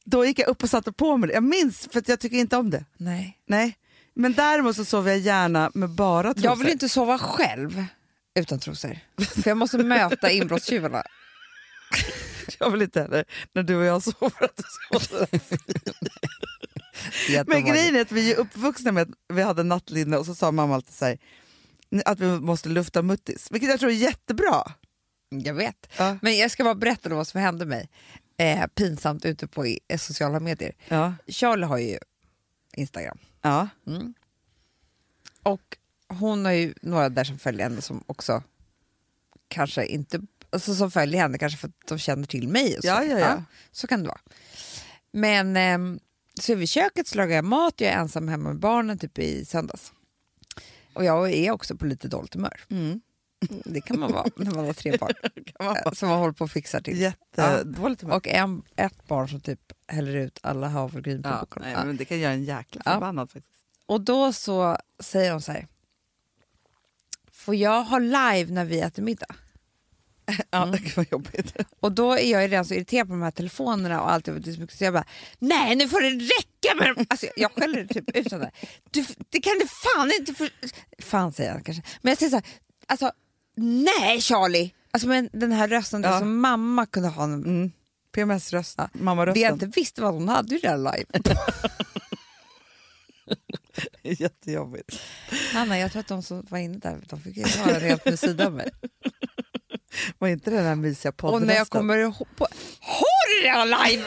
S1: då gick jag upp och satte på mig det. Jag minns, för att jag tycker inte om det.
S3: Nej.
S1: Nej. Men däremot så sover jag gärna med bara trosor.
S3: Jag vill inte sova själv utan trosor. För jag måste [LAUGHS] möta inbrottstjuvarna.
S1: jag vill inte heller, när du och jag sover, att du sover så Men grejen är att vi är uppvuxna med att vi hade nattlinne och så sa mamma alltid så här, att vi måste lufta muttis, vilket jag tror är jättebra.
S3: Jag vet.
S1: Ja.
S3: Men jag ska bara berätta då vad som hände mig. Eh, pinsamt ute på i, eh, sociala medier.
S1: Ja.
S3: Charlie har ju Instagram.
S1: Ja.
S3: Och hon har ju några där som följer henne som också kanske inte, alltså som följer henne kanske för att de känner till mig. Och så.
S1: Ja, ja, ja.
S3: så kan det vara. Men ehm, så är vi i köket så lagar jag mat, jag är ensam hemma med barnen typ i söndags. Och jag är också på lite dåligt humör.
S1: Mm.
S3: Det kan man vara när man har
S1: [LAUGHS]
S3: tre barn eh, som man håller på och fixar till.
S1: Jättedåligt humör.
S3: Och en, ett barn som typ häller ut alla havregryn på
S1: Ja,
S3: boken.
S1: nej,
S3: Ja.
S1: men det kan göra en jäkla
S3: Ja.
S1: förbannad faktiskt.
S3: Och då så säger hon så här. Får jag ha live när vi äter middag?
S1: Ja, gud vad jobbigt.
S3: Och då är jag ju redan så irriterad på de här telefonerna och allt. det är så mycket, Så jag bara, nej nu får det räcka med dem. Alltså, jag skäller typ ut sådär. Du, det kan du fan inte för... Fan säger jag kanske. Men jag säger så här, alltså nej Charlie. Alltså men den här rösten där
S1: Ja.
S3: som mamma kunde ha. Mm.
S1: PMS-röst,
S3: Ja. Det jag
S1: mammarösten.
S3: inte visste vad hon hade ju redan live.
S1: Det är [LAUGHS] jättejobbigt.
S3: Hanna jag tror att de som var inne där, de [LAUGHS] fick ju höra en helt ny sida av mig.
S1: Var inte det den där mysiga
S3: Och
S1: poddrösten?
S3: när jag kommer ihåg... Har du det här live?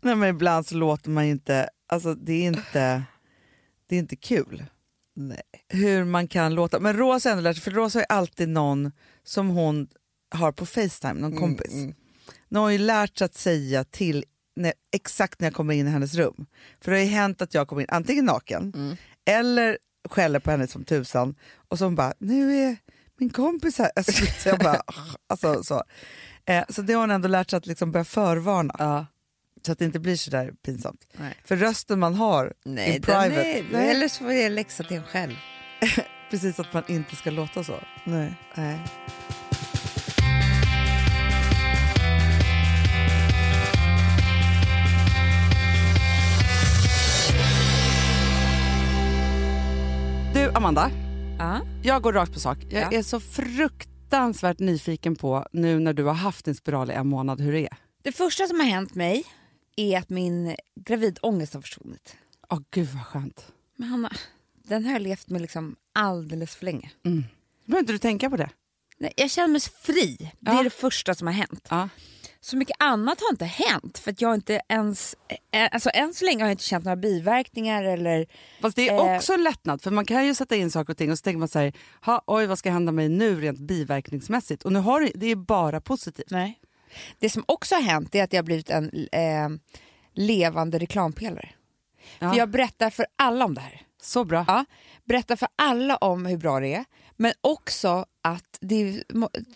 S1: Nej, men ibland så låter man ju inte, alltså det är inte, det är inte kul.
S3: Nej.
S1: hur man kan låta. Men Rosa har ändå lärt sig, för Rosa har ju alltid någon som hon har på Facetime, någon kompis. Nu har hon ju lärt sig att säga till när, exakt när jag kommer in i hennes rum. För det har ju hänt att jag kommer in antingen naken eller skäller på henne som tusan och så hon bara “nu är min kompis här”. Alltså, [LAUGHS] så jag bara, "Ah." alltså, så. Eh, så det har hon ändå lärt sig att liksom börja förvarna. Så att det inte blir så där pinsamt.
S3: Nej.
S1: För rösten man har
S3: Nej,
S1: in private,
S3: den är,
S1: Nej,
S3: Eller så får jag läxa till en själv.
S1: precis att man inte ska låta så.
S3: Nej.
S1: Nej.
S5: Amanda,
S3: Ja.
S5: jag går rakt på sak. Jag
S3: Ja.
S5: är så fruktansvärt nyfiken på, nu när du har haft din spiral i en månad, hur det är.
S3: Det första som har hänt mig är att min gravidångest har försvunnit.
S5: Åh gud vad skönt.
S3: Men Hanna, den har jag levt med liksom alldeles för länge.
S5: Behöver inte du tänka på det?
S3: Nej, Jag känner mig fri. Det
S5: Ja.
S3: är det första som har hänt.
S5: Ja.
S3: Så mycket annat har inte hänt. För att jag inte ens, eh, alltså än så länge har jag inte känt några biverkningar eller...
S5: Fast det
S3: Eh.
S5: är också en lättnad, för man kan ju sätta in saker och ting och så tänker man så här, ha, oj vad ska hända mig nu rent biverkningsmässigt? Och nu har du, det är bara positivt.
S3: Nej. Det som också har hänt är att jag har blivit en eh, levande reklampelare.
S5: Ja.
S3: För jag berättar för alla om det här.
S5: Så bra.
S3: Ja, berätta för alla om hur bra det är, men också att det,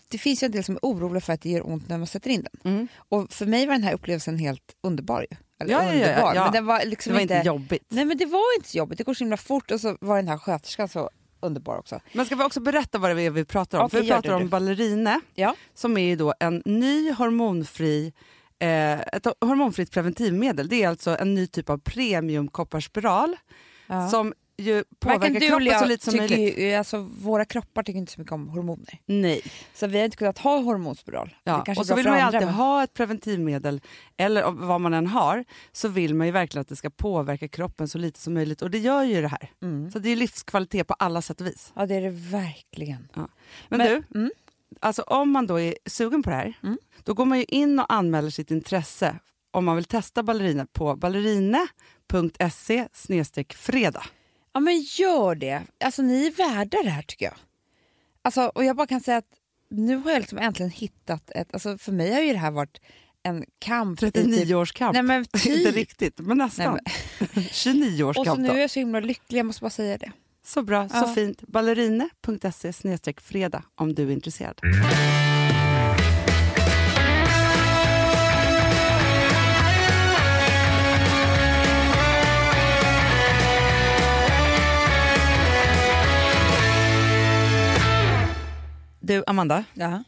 S3: det finns ju en del som är oroliga för att det gör ont när man sätter in den.
S5: Mm.
S3: Och för mig var den här upplevelsen helt underbar. ju. Eller
S5: Ja, ja, ja,
S3: underbar,
S5: ja.
S3: men den var liksom
S5: Det var inte jobbigt.
S3: Nej, men det var inte så jobbigt. Det går så himla fort och så var den här sköterskan så underbar också.
S5: Men ska vi också berätta vad det är vi pratar om?
S3: Okej,
S5: För vi
S3: gör
S5: pratar
S3: det,
S5: om
S3: du.
S5: Ballerine,
S3: Ja.
S5: som är ju då en ny hormonfri eh, ett hormonfritt preventivmedel. Det är alltså en ny typ av premiumkopparspiral som ju påverkar
S3: Varken du eller
S5: kroppen så
S3: jag
S5: lite som
S3: tycker
S5: möjligt.
S3: ju, alltså, våra kroppar tycker inte så mycket om hormoner.
S5: Nej.
S3: Så vi har inte kunnat ha hormonspiral.
S5: Ja.
S3: det kanske
S5: Och så
S3: är bra
S5: vill
S3: för
S5: man ju
S3: andra,
S5: alltid
S3: men-
S5: ha ett preventivmedel, eller om- vad man än har, så vill man ju verkligen att det ska påverka kroppen så lite som möjligt. Och det gör ju det här.
S3: Mm.
S5: Så det är livskvalitet på alla sätt och vis.
S3: Ja, det är det verkligen.
S5: Men,
S3: Men-
S5: du,
S3: mm.
S5: alltså om man då är sugen på det här,
S3: Mm.
S5: då går man ju in och anmäler sitt intresse om man vill testa ballerina på ballerine.se fredag.
S3: Ja men gör det. Alltså ni är värda det här tycker jag. Alltså, och jag bara kan säga att nu har jag liksom äntligen hittat ett, alltså för mig har ju det här varit en kamp. i Typ,
S5: 39-årskamp.
S3: nej
S5: [LAUGHS]
S3: men
S5: Inte
S3: typ.
S5: riktigt, men nästan.
S3: Nej,
S5: [LAUGHS]
S3: Och så
S5: 29-årskamp
S3: nu
S5: då.
S3: är jag så himla lycklig, jag måste bara säga det.
S5: Så bra, så
S3: Ja.
S5: fint. Ballerine.se fredag om du är intresserad.
S1: Du, Amanda.
S3: Ja.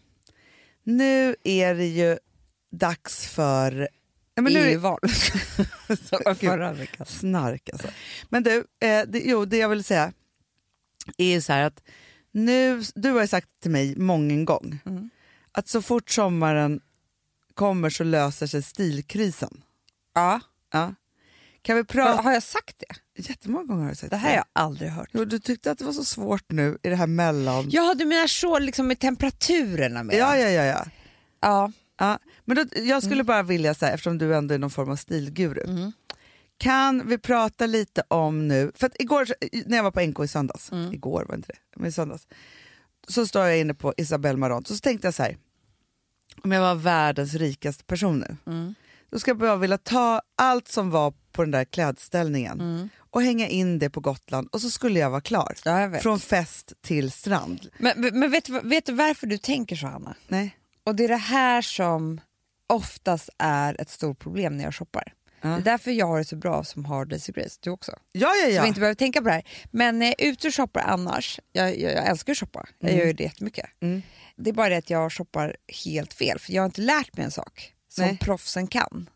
S1: Nu är det ju dags för ja, men nu är det-
S3: EU-val.
S1: Förra
S3: veckan.
S1: snark. Alltså. Men du, eh, det, jo, det jag vill säga är ju så här att nu, du har ju sagt till mig många gång
S3: Mm.
S1: att så fort sommaren kommer så löser sig stilkrisen.
S3: Ja.
S1: Ja. Kan vi prata...
S3: Har jag sagt det?
S1: Jättemånga gånger har du sagt
S3: Det här har jag aldrig hört.
S1: Jo, du tyckte att det var så svårt nu i det här mellan...
S3: Ja, du menar så liksom med temperaturerna? Med.
S1: ja, ja, ja. ja.
S3: ja.
S1: Ja, men då, jag
S3: Mm.
S1: skulle bara vilja, så här, eftersom du ändå är någon form av stilguru, kan vi prata lite om nu, för att igår så- när jag var på NK i söndags,
S3: Mm.
S1: igår var inte det, men i söndags, så står jag inne på Isabel Marant och så tänkte jag så här, om jag var världens rikaste person nu,
S3: Mm.
S1: då ska jag bara vilja ta allt som var på den där klädställningen
S3: Mm.
S1: och hänga in det på Gotland och så skulle jag vara klar.
S3: Ja, jag vet.
S1: Från fest till strand.
S3: Men, men vet, du- vet du varför du tänker så, Hanna?
S1: Nej.
S3: Och det är det här som oftast är ett stort problem när jag shoppar. Det är därför jag har det så bra som har Daisy Grace, du också.
S1: Ja, ja,
S3: Så
S1: ja.
S3: vi inte behöver tänka på det här. Men när jag är ute och shoppar annars, jag, jag, jag älskar att shoppa, jag gör ju det jättemycket.
S1: Mm.
S3: Det är bara det att jag shoppar helt fel, för jag har inte lärt mig en sak som
S1: Nej.
S3: proffsen kan.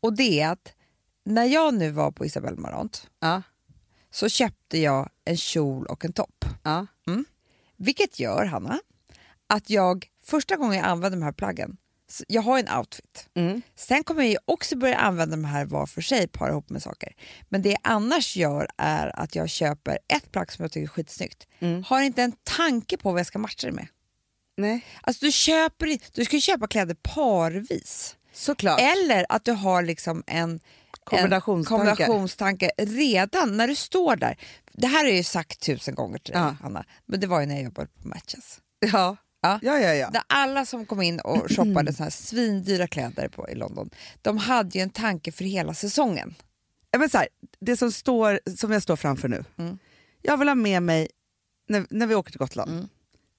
S3: Och det är att när jag nu var på Isabel Marant
S1: ja,
S3: så köpte jag en kjol och en topp.
S1: ja.
S3: Vilket gör, Hanna, att jag första gången jag använder de här plaggen, så jag har ju en outfit.
S1: Mm.
S3: Sen kommer jag ju också börja använda de här var för sig, para ihop med saker. Men det jag annars gör är att jag köper ett plagg som jag tycker är skitsnyggt. Har inte en tanke på vad jag ska matcha det med.
S1: Nej.
S3: Alltså du, köper, i- du ska ju köpa kläder parvis.
S1: Såklart.
S3: Eller att du har liksom en
S1: Kombinationstanke.
S3: en kombinationstanke redan när du står där. Det här har jag ju sagt tusen gånger till dig,
S1: Ja.
S3: Hanna, men det var ju när jag jobbade på Matches.
S1: Ja.
S3: Ja.
S1: Ja, ja, ja.
S3: Där alla som kom
S1: [CLEARS THROAT]
S3: in och shoppade såna här svindyra kläder på, i London, de hade ju en tanke för hela säsongen.
S1: Ja, Men så här, det som, står, som jag står framför nu.
S3: Mm.
S1: Jag vill ha med mig, när, när vi åker till Gotland,
S3: Mm.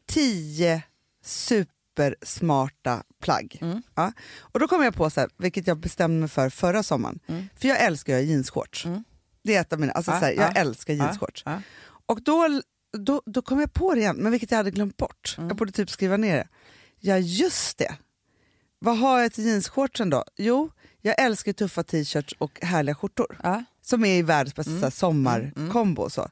S1: tio supersmarta plagg.
S3: Mm.
S1: Ja. Och då kom jag på, så här, vilket jag bestämde mig för förra sommaren, för jag älskar att ha jeansshorts. Det är ett av mina, alltså,
S3: Mm. Ja,
S1: så här, jag
S3: ja,
S1: älskar jeansshorts.
S3: ja.
S1: Och då, då, då kom jag på det igen, men vilket jag hade glömt bort.
S3: Mm.
S1: Jag borde typ skriva ner det. Ja, just det. Vad har jag till jeansshortsen då? Jo, jag älskar tuffa t-shirts och härliga skjortor
S3: Ja. Mm,
S1: som är i världens bästa mm. sommarkombo. och Så.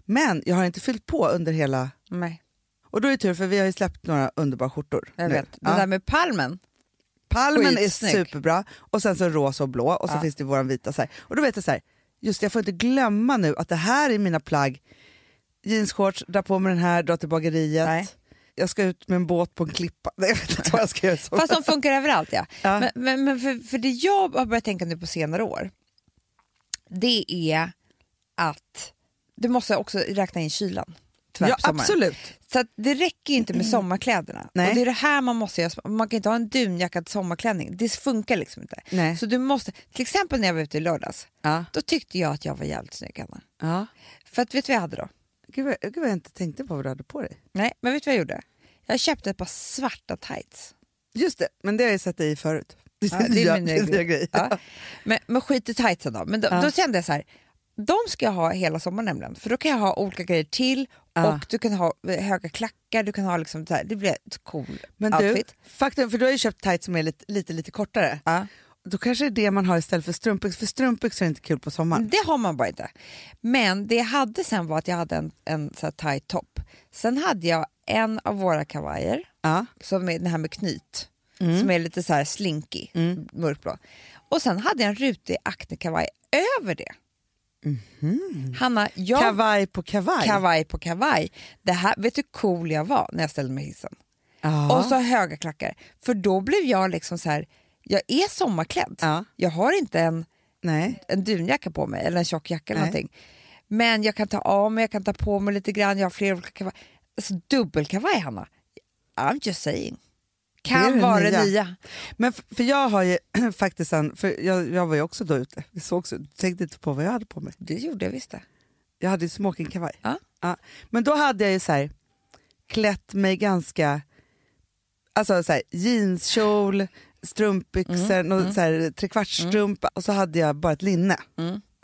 S1: Men jag har inte fyllt på under hela...
S3: Nej,
S1: Och då är det tur för vi har ju släppt några underbara skjortor.
S3: jag
S1: nu.
S3: vet. Det
S1: Ja.
S3: där med palmen.
S1: Palmen
S3: Skitsnygg.
S1: är superbra och sen så rosa och blå och så
S3: Ja.
S1: finns det våran vita. Så här. Och då vet jag så här, just det, jag får inte glömma nu att det här är mina plagg. Jeansshorts, dra på mig den här, dra till bageriet.
S3: Nej.
S1: Jag ska ut med en båt på en klippa. [LAUGHS] Nej, jag vet inte vad jag ska göra. Så.
S3: Fast de funkar överallt ja.
S1: Ja.
S3: Men, men, men för, för det jag har börjat tänka nu på senare år, det är att du måste också räkna in kylan. Tyvärr,
S1: ja,
S3: på sommaren.
S1: absolut. Mm.
S3: Så att det räcker ju inte med sommarkläderna.
S1: Nej.
S3: Och det är det här man måste göra. Man kan inte ha en dunjacka till sommarklänning. Det funkar liksom inte.
S1: Nej.
S3: Så du måste, till exempel när jag var ute i lördags,
S1: Ja.
S3: då tyckte jag att jag var jävligt snygg Anna.
S1: Ja.
S3: För att vet du vad jag hade då?
S1: Gud, vad, gud vad jag inte tänkte på vad du hade på dig.
S3: Nej, men vet du vad jag gjorde? Jag köpte ett par
S1: [LAUGHS]
S3: svarta tights.
S1: Just det, men det har jag sett dig i förut. [LAUGHS]
S3: Ja, det är
S1: Ja,
S3: min
S1: det är
S3: grej.
S1: din grej.
S3: Ja. Men, men skit i tightsen då. Men då,
S1: Ja.
S3: då kände jag så här, de ska jag ha hela sommaren nämligen. För då kan jag ha olika grejer till
S1: Ja.
S3: och du kan ha eh, höga klackar, du kan ha liksom så här, det blir ett cool
S1: Men du,
S3: outfit.
S1: faktum, för du har ju köpt tights som är lite, lite, lite kortare.
S3: Ja.
S1: Då kanske det är det man har istället för strumpbyxor, för strumpbyxor är inte kul på sommaren.
S3: Det har man bara inte. Men det jag hade sen var att jag hade en, en så här tight topp. Sen hade jag en av våra kavajer,
S1: Ja.
S3: som är den här med knyt,
S1: Mm.
S3: som är lite så här slinky, mörkblå. Och sen hade jag en rutig aknekavaj över det. Hanna, jag...
S1: Mhm. Kavaj på kavaj.
S3: kavaj på kavaj. Det här, vet du hur cool jag var när jag ställde mig i hissen?
S1: Ja.
S3: Och så höga klackar. För då blev jag liksom så här, jag är sommarklädd.
S1: Ja.
S3: Jag har inte en
S1: Nej.
S3: en dunjacka på mig eller en tjock jacka eller
S1: Nej.
S3: någonting. Men jag kan ta av mig, jag kan ta på mig lite grann, jag har flera olika kavajer. Alltså, dubbelkavaj Hanna, I'm just saying.
S1: Det är
S3: Kan
S1: det
S3: vara
S1: nya.
S3: det nya.
S1: Men f- för jag har ju [CLEARS THROAT] faktiskt en, för jag, jag var ju också då ute, vi såg också, tänkte inte på vad jag hade på mig.
S3: Det gjorde jag visst det.
S1: Jag hade ju smokingkavaj.
S3: Ja.
S1: Men då hade jag ju så här, klätt mig ganska, alltså så här, jeanskjol, strumpbyxor, mm. någon så här trekvartsstrumpa
S3: Mm.
S1: och så hade jag bara ett linne.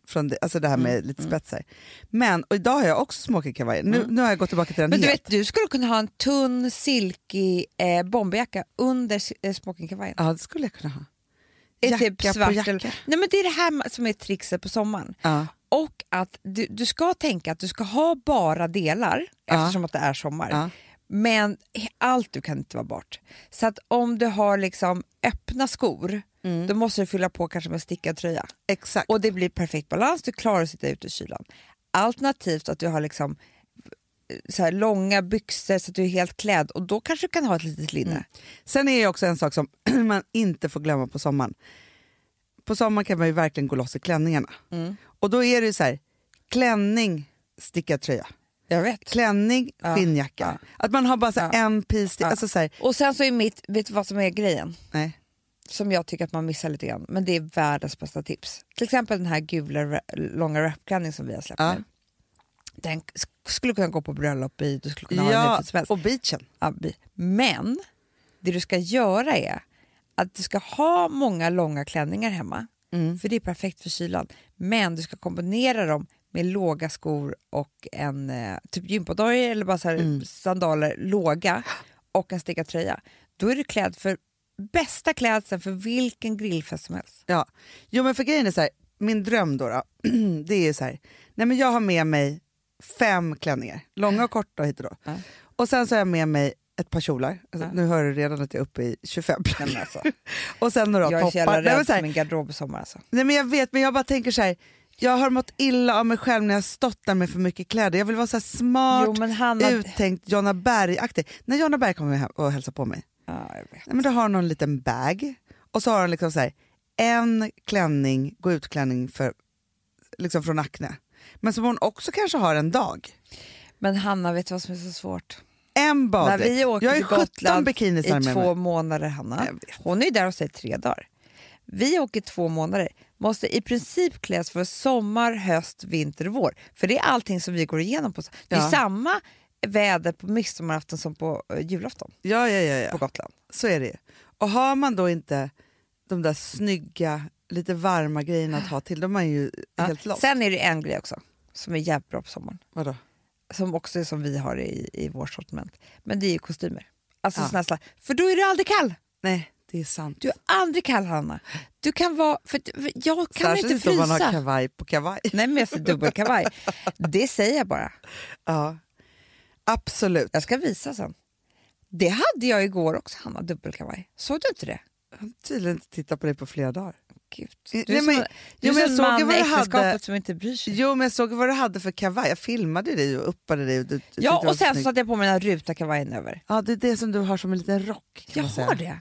S1: Från det, alltså det här med lite
S3: mm.
S1: spetsar. Men, och idag har jag också smokingkavaj. Nu, nu har jag gått tillbaka till den
S3: Men du
S1: helt.
S3: vet, du skulle kunna ha en tunn silkig eh, bomberjacka under s- eh, smokingkavajen.
S1: Ja, det skulle jag kunna ha.
S3: Är
S1: Jacka
S3: typ
S1: på
S3: svart
S1: jacka.
S3: eller- Nej men det är det här ma- som är trickset på sommaren.
S1: Ja.
S3: Och att du, du ska tänka att du ska ha bara delar, eftersom att det är sommar.
S1: Ja.
S3: Men he- allt du kan inte vara bart. Så att om du har liksom öppna skor, då måste du fylla på kanske med stickad tröja.
S1: Exakt.
S3: Och det blir perfekt balans, du klarar att sitta ute i kylan. Alternativt att du har liksom eh, så här långa byxor så att du är helt klädd och då kanske du kan ha ett litet linne.
S1: Sen är det också en sak som [CLEARS THROAT] man inte får glömma på sommaren. På sommaren kan man ju verkligen gå loss i klänningarna.
S3: Mm.
S1: Och då är det ju så här, klänning, stickad tröja.
S3: Jag vet.
S1: Klänning, skinnjacka. Att man har bara så här en piece, till- alltså så här,
S3: Och sen så är mitt, vet du vad som är grejen?
S1: nej.
S3: Som jag tycker att man missar lite grann, men det är världens bästa tips. Till exempel den här gula ra- långa wrapklänningen som vi har släppt
S1: Ja.
S3: nu. Den sk- skulle kunna gå på bröllop i, du skulle kunna ha den
S1: Ja,
S3: hur som helst.
S1: och beachen.
S3: Ja, bi- Men det du ska göra är att du ska ha många långa klänningar hemma, för det är perfekt för kylan. Men du ska kombinera dem med låga skor och en eh, typ gympadojor eller bara så här sandaler, låga, och en stickad tröja. Då är du klädd för bästa klädseln för vilken grillfest som helst.
S1: Ja. Jo men för grejen är så här, min dröm då, [CLEARS THROAT] då det är så här, nej men jag har med mig fem klänningar, långa och korta hit och då.
S3: Ja.
S1: Och sen så har jag med mig ett par kjolar, alltså,
S3: Ja.
S1: nu hör du redan att jag är uppe i 25
S3: Nej, men alltså,
S1: Och sen några
S3: jag är så jävla
S1: toppar. Nej, men så
S3: rädd för
S1: här,
S3: min garderob i sommar. Alltså.
S1: Nej men jag vet, men jag bara tänker så här. Jag har mått illa av mig själv när jag stått där med för mycket kläder. Jag vill vara så här smart,
S3: Jo, men Hanna-
S1: uttänkt, Jonna Berg-aktig. När Jonna Berg kommer hem och hälsar på mig,
S3: Ja, jag vet.
S1: nej, men då har hon en liten bag och så har hon liksom så här, en klänning, gå ut-klänning för, liksom från Acne. Men som hon också kanske har en dag.
S3: Men Hanna, vet du vad som är så svårt?
S1: En
S3: När
S1: baddräkt.
S3: vi åker
S1: Jag har
S3: till
S1: ju 17
S3: Gotland
S1: bikinisar
S3: i
S1: med
S3: två
S1: mig.
S3: månader, Hanna.
S1: Jag vet.
S3: Hon är ju där hos dig tre dagar. Vi åker två månader. Måste i princip kläs för sommar, höst, vinter och vår. För det är allting som vi går igenom. på. Det är
S1: Ja.
S3: samma väder på midsommarafton som på eh, julafton
S1: Ja, ja, ja, ja.
S3: på Gotland.
S1: Så är det ju. Och har man då inte de där snygga, lite varma grejerna att ha till, då är man ju
S3: Ja.
S1: helt lost.
S3: Sen är det en grej också som är jävligt bra på sommaren.
S1: Vadå?
S3: Som också är som vi har i, i vårt sortiment. Men det är ju kostymer. Alltså
S1: Ja.
S3: snälla, för då är du aldrig kall.
S1: Nej,
S6: Det är sant.
S3: Du är aldrig kall Hanna. Du kan vara, för, för jag kan
S1: Särskilt
S3: inte
S1: om man har
S3: frysa.
S1: kavaj på kavaj.
S3: [LAUGHS] Nej men jag ser dubbelkavaj. Det säger jag bara.
S1: Ja. Absolut.
S3: Jag ska visa sen. Det hade jag igår också Hanna, dubbelkavaj. Såg du inte det?
S1: Jag har tydligen inte tittat på det på flera dagar.
S3: Gud. Du
S1: Nej,
S3: är som,
S1: men-
S3: du är
S1: jo, men
S3: som
S1: jag
S3: en
S1: såg
S3: man
S1: ju vad
S3: i
S1: du hade.
S3: äktenskapet som inte bryr sig.
S1: Jo, men jag såg vad du hade för kavaj. Jag filmade dig och uppade dig. Och du, du tyckte det
S3: Ja,
S1: var
S3: och sen
S1: snyggt.
S3: så hade jag på mig den här ruta kavajen över.
S1: Ja, det är det som du har som en liten rock. Kan
S3: Jag
S1: man säga.
S3: har det.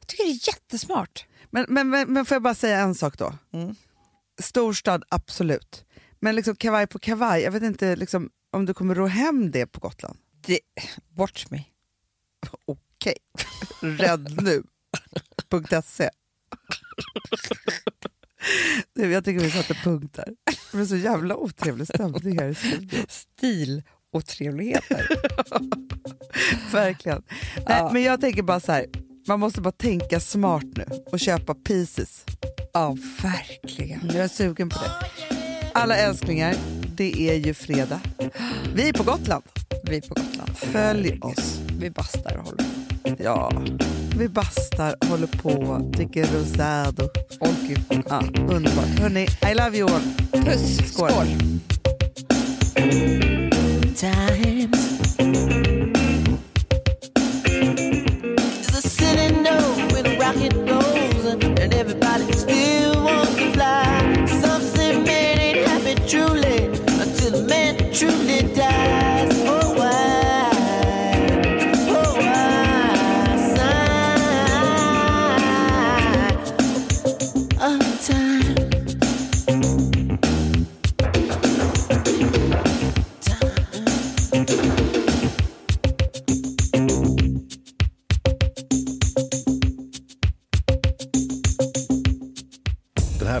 S3: Jag tycker det är jättesmart.
S1: Men, men, men, men får jag bara säga en sak då? Storstad, absolut. Men liksom kavaj på kavaj, jag vet inte liksom, om du kommer ro hem det på Gotland.
S3: Det, bort mig.
S1: Okej, rädd nu. .se. Du, jag tycker vi satte punkt där. Det är så jävla otrevlig stämning här i studion.
S3: Stil och trevligheter.
S1: [LAUGHS] Verkligen. Nej, men jag tänker bara så här, man måste bara tänka smart nu och köpa pieces.
S3: ja, verkligen.
S1: Jag är sugen på det. Alla älsklingar, det är ju fredag. Vi är på Gotland.
S3: Vi är på Gotland.
S1: Följ oss.
S3: Vi bastar och håller
S1: Ja, vi bastar, håller på, dricker rosado.
S3: Åh gud.
S1: Ja, underbart. Hörni, I love you all.
S3: Puss.
S1: Skål.
S3: Skål.
S7: times. It's a city no when a rocket goes and everybody still wants to fly. Some say man ain't happy truly until the man truly dies. Oh why? Oh why? Sign of time.
S8: Den här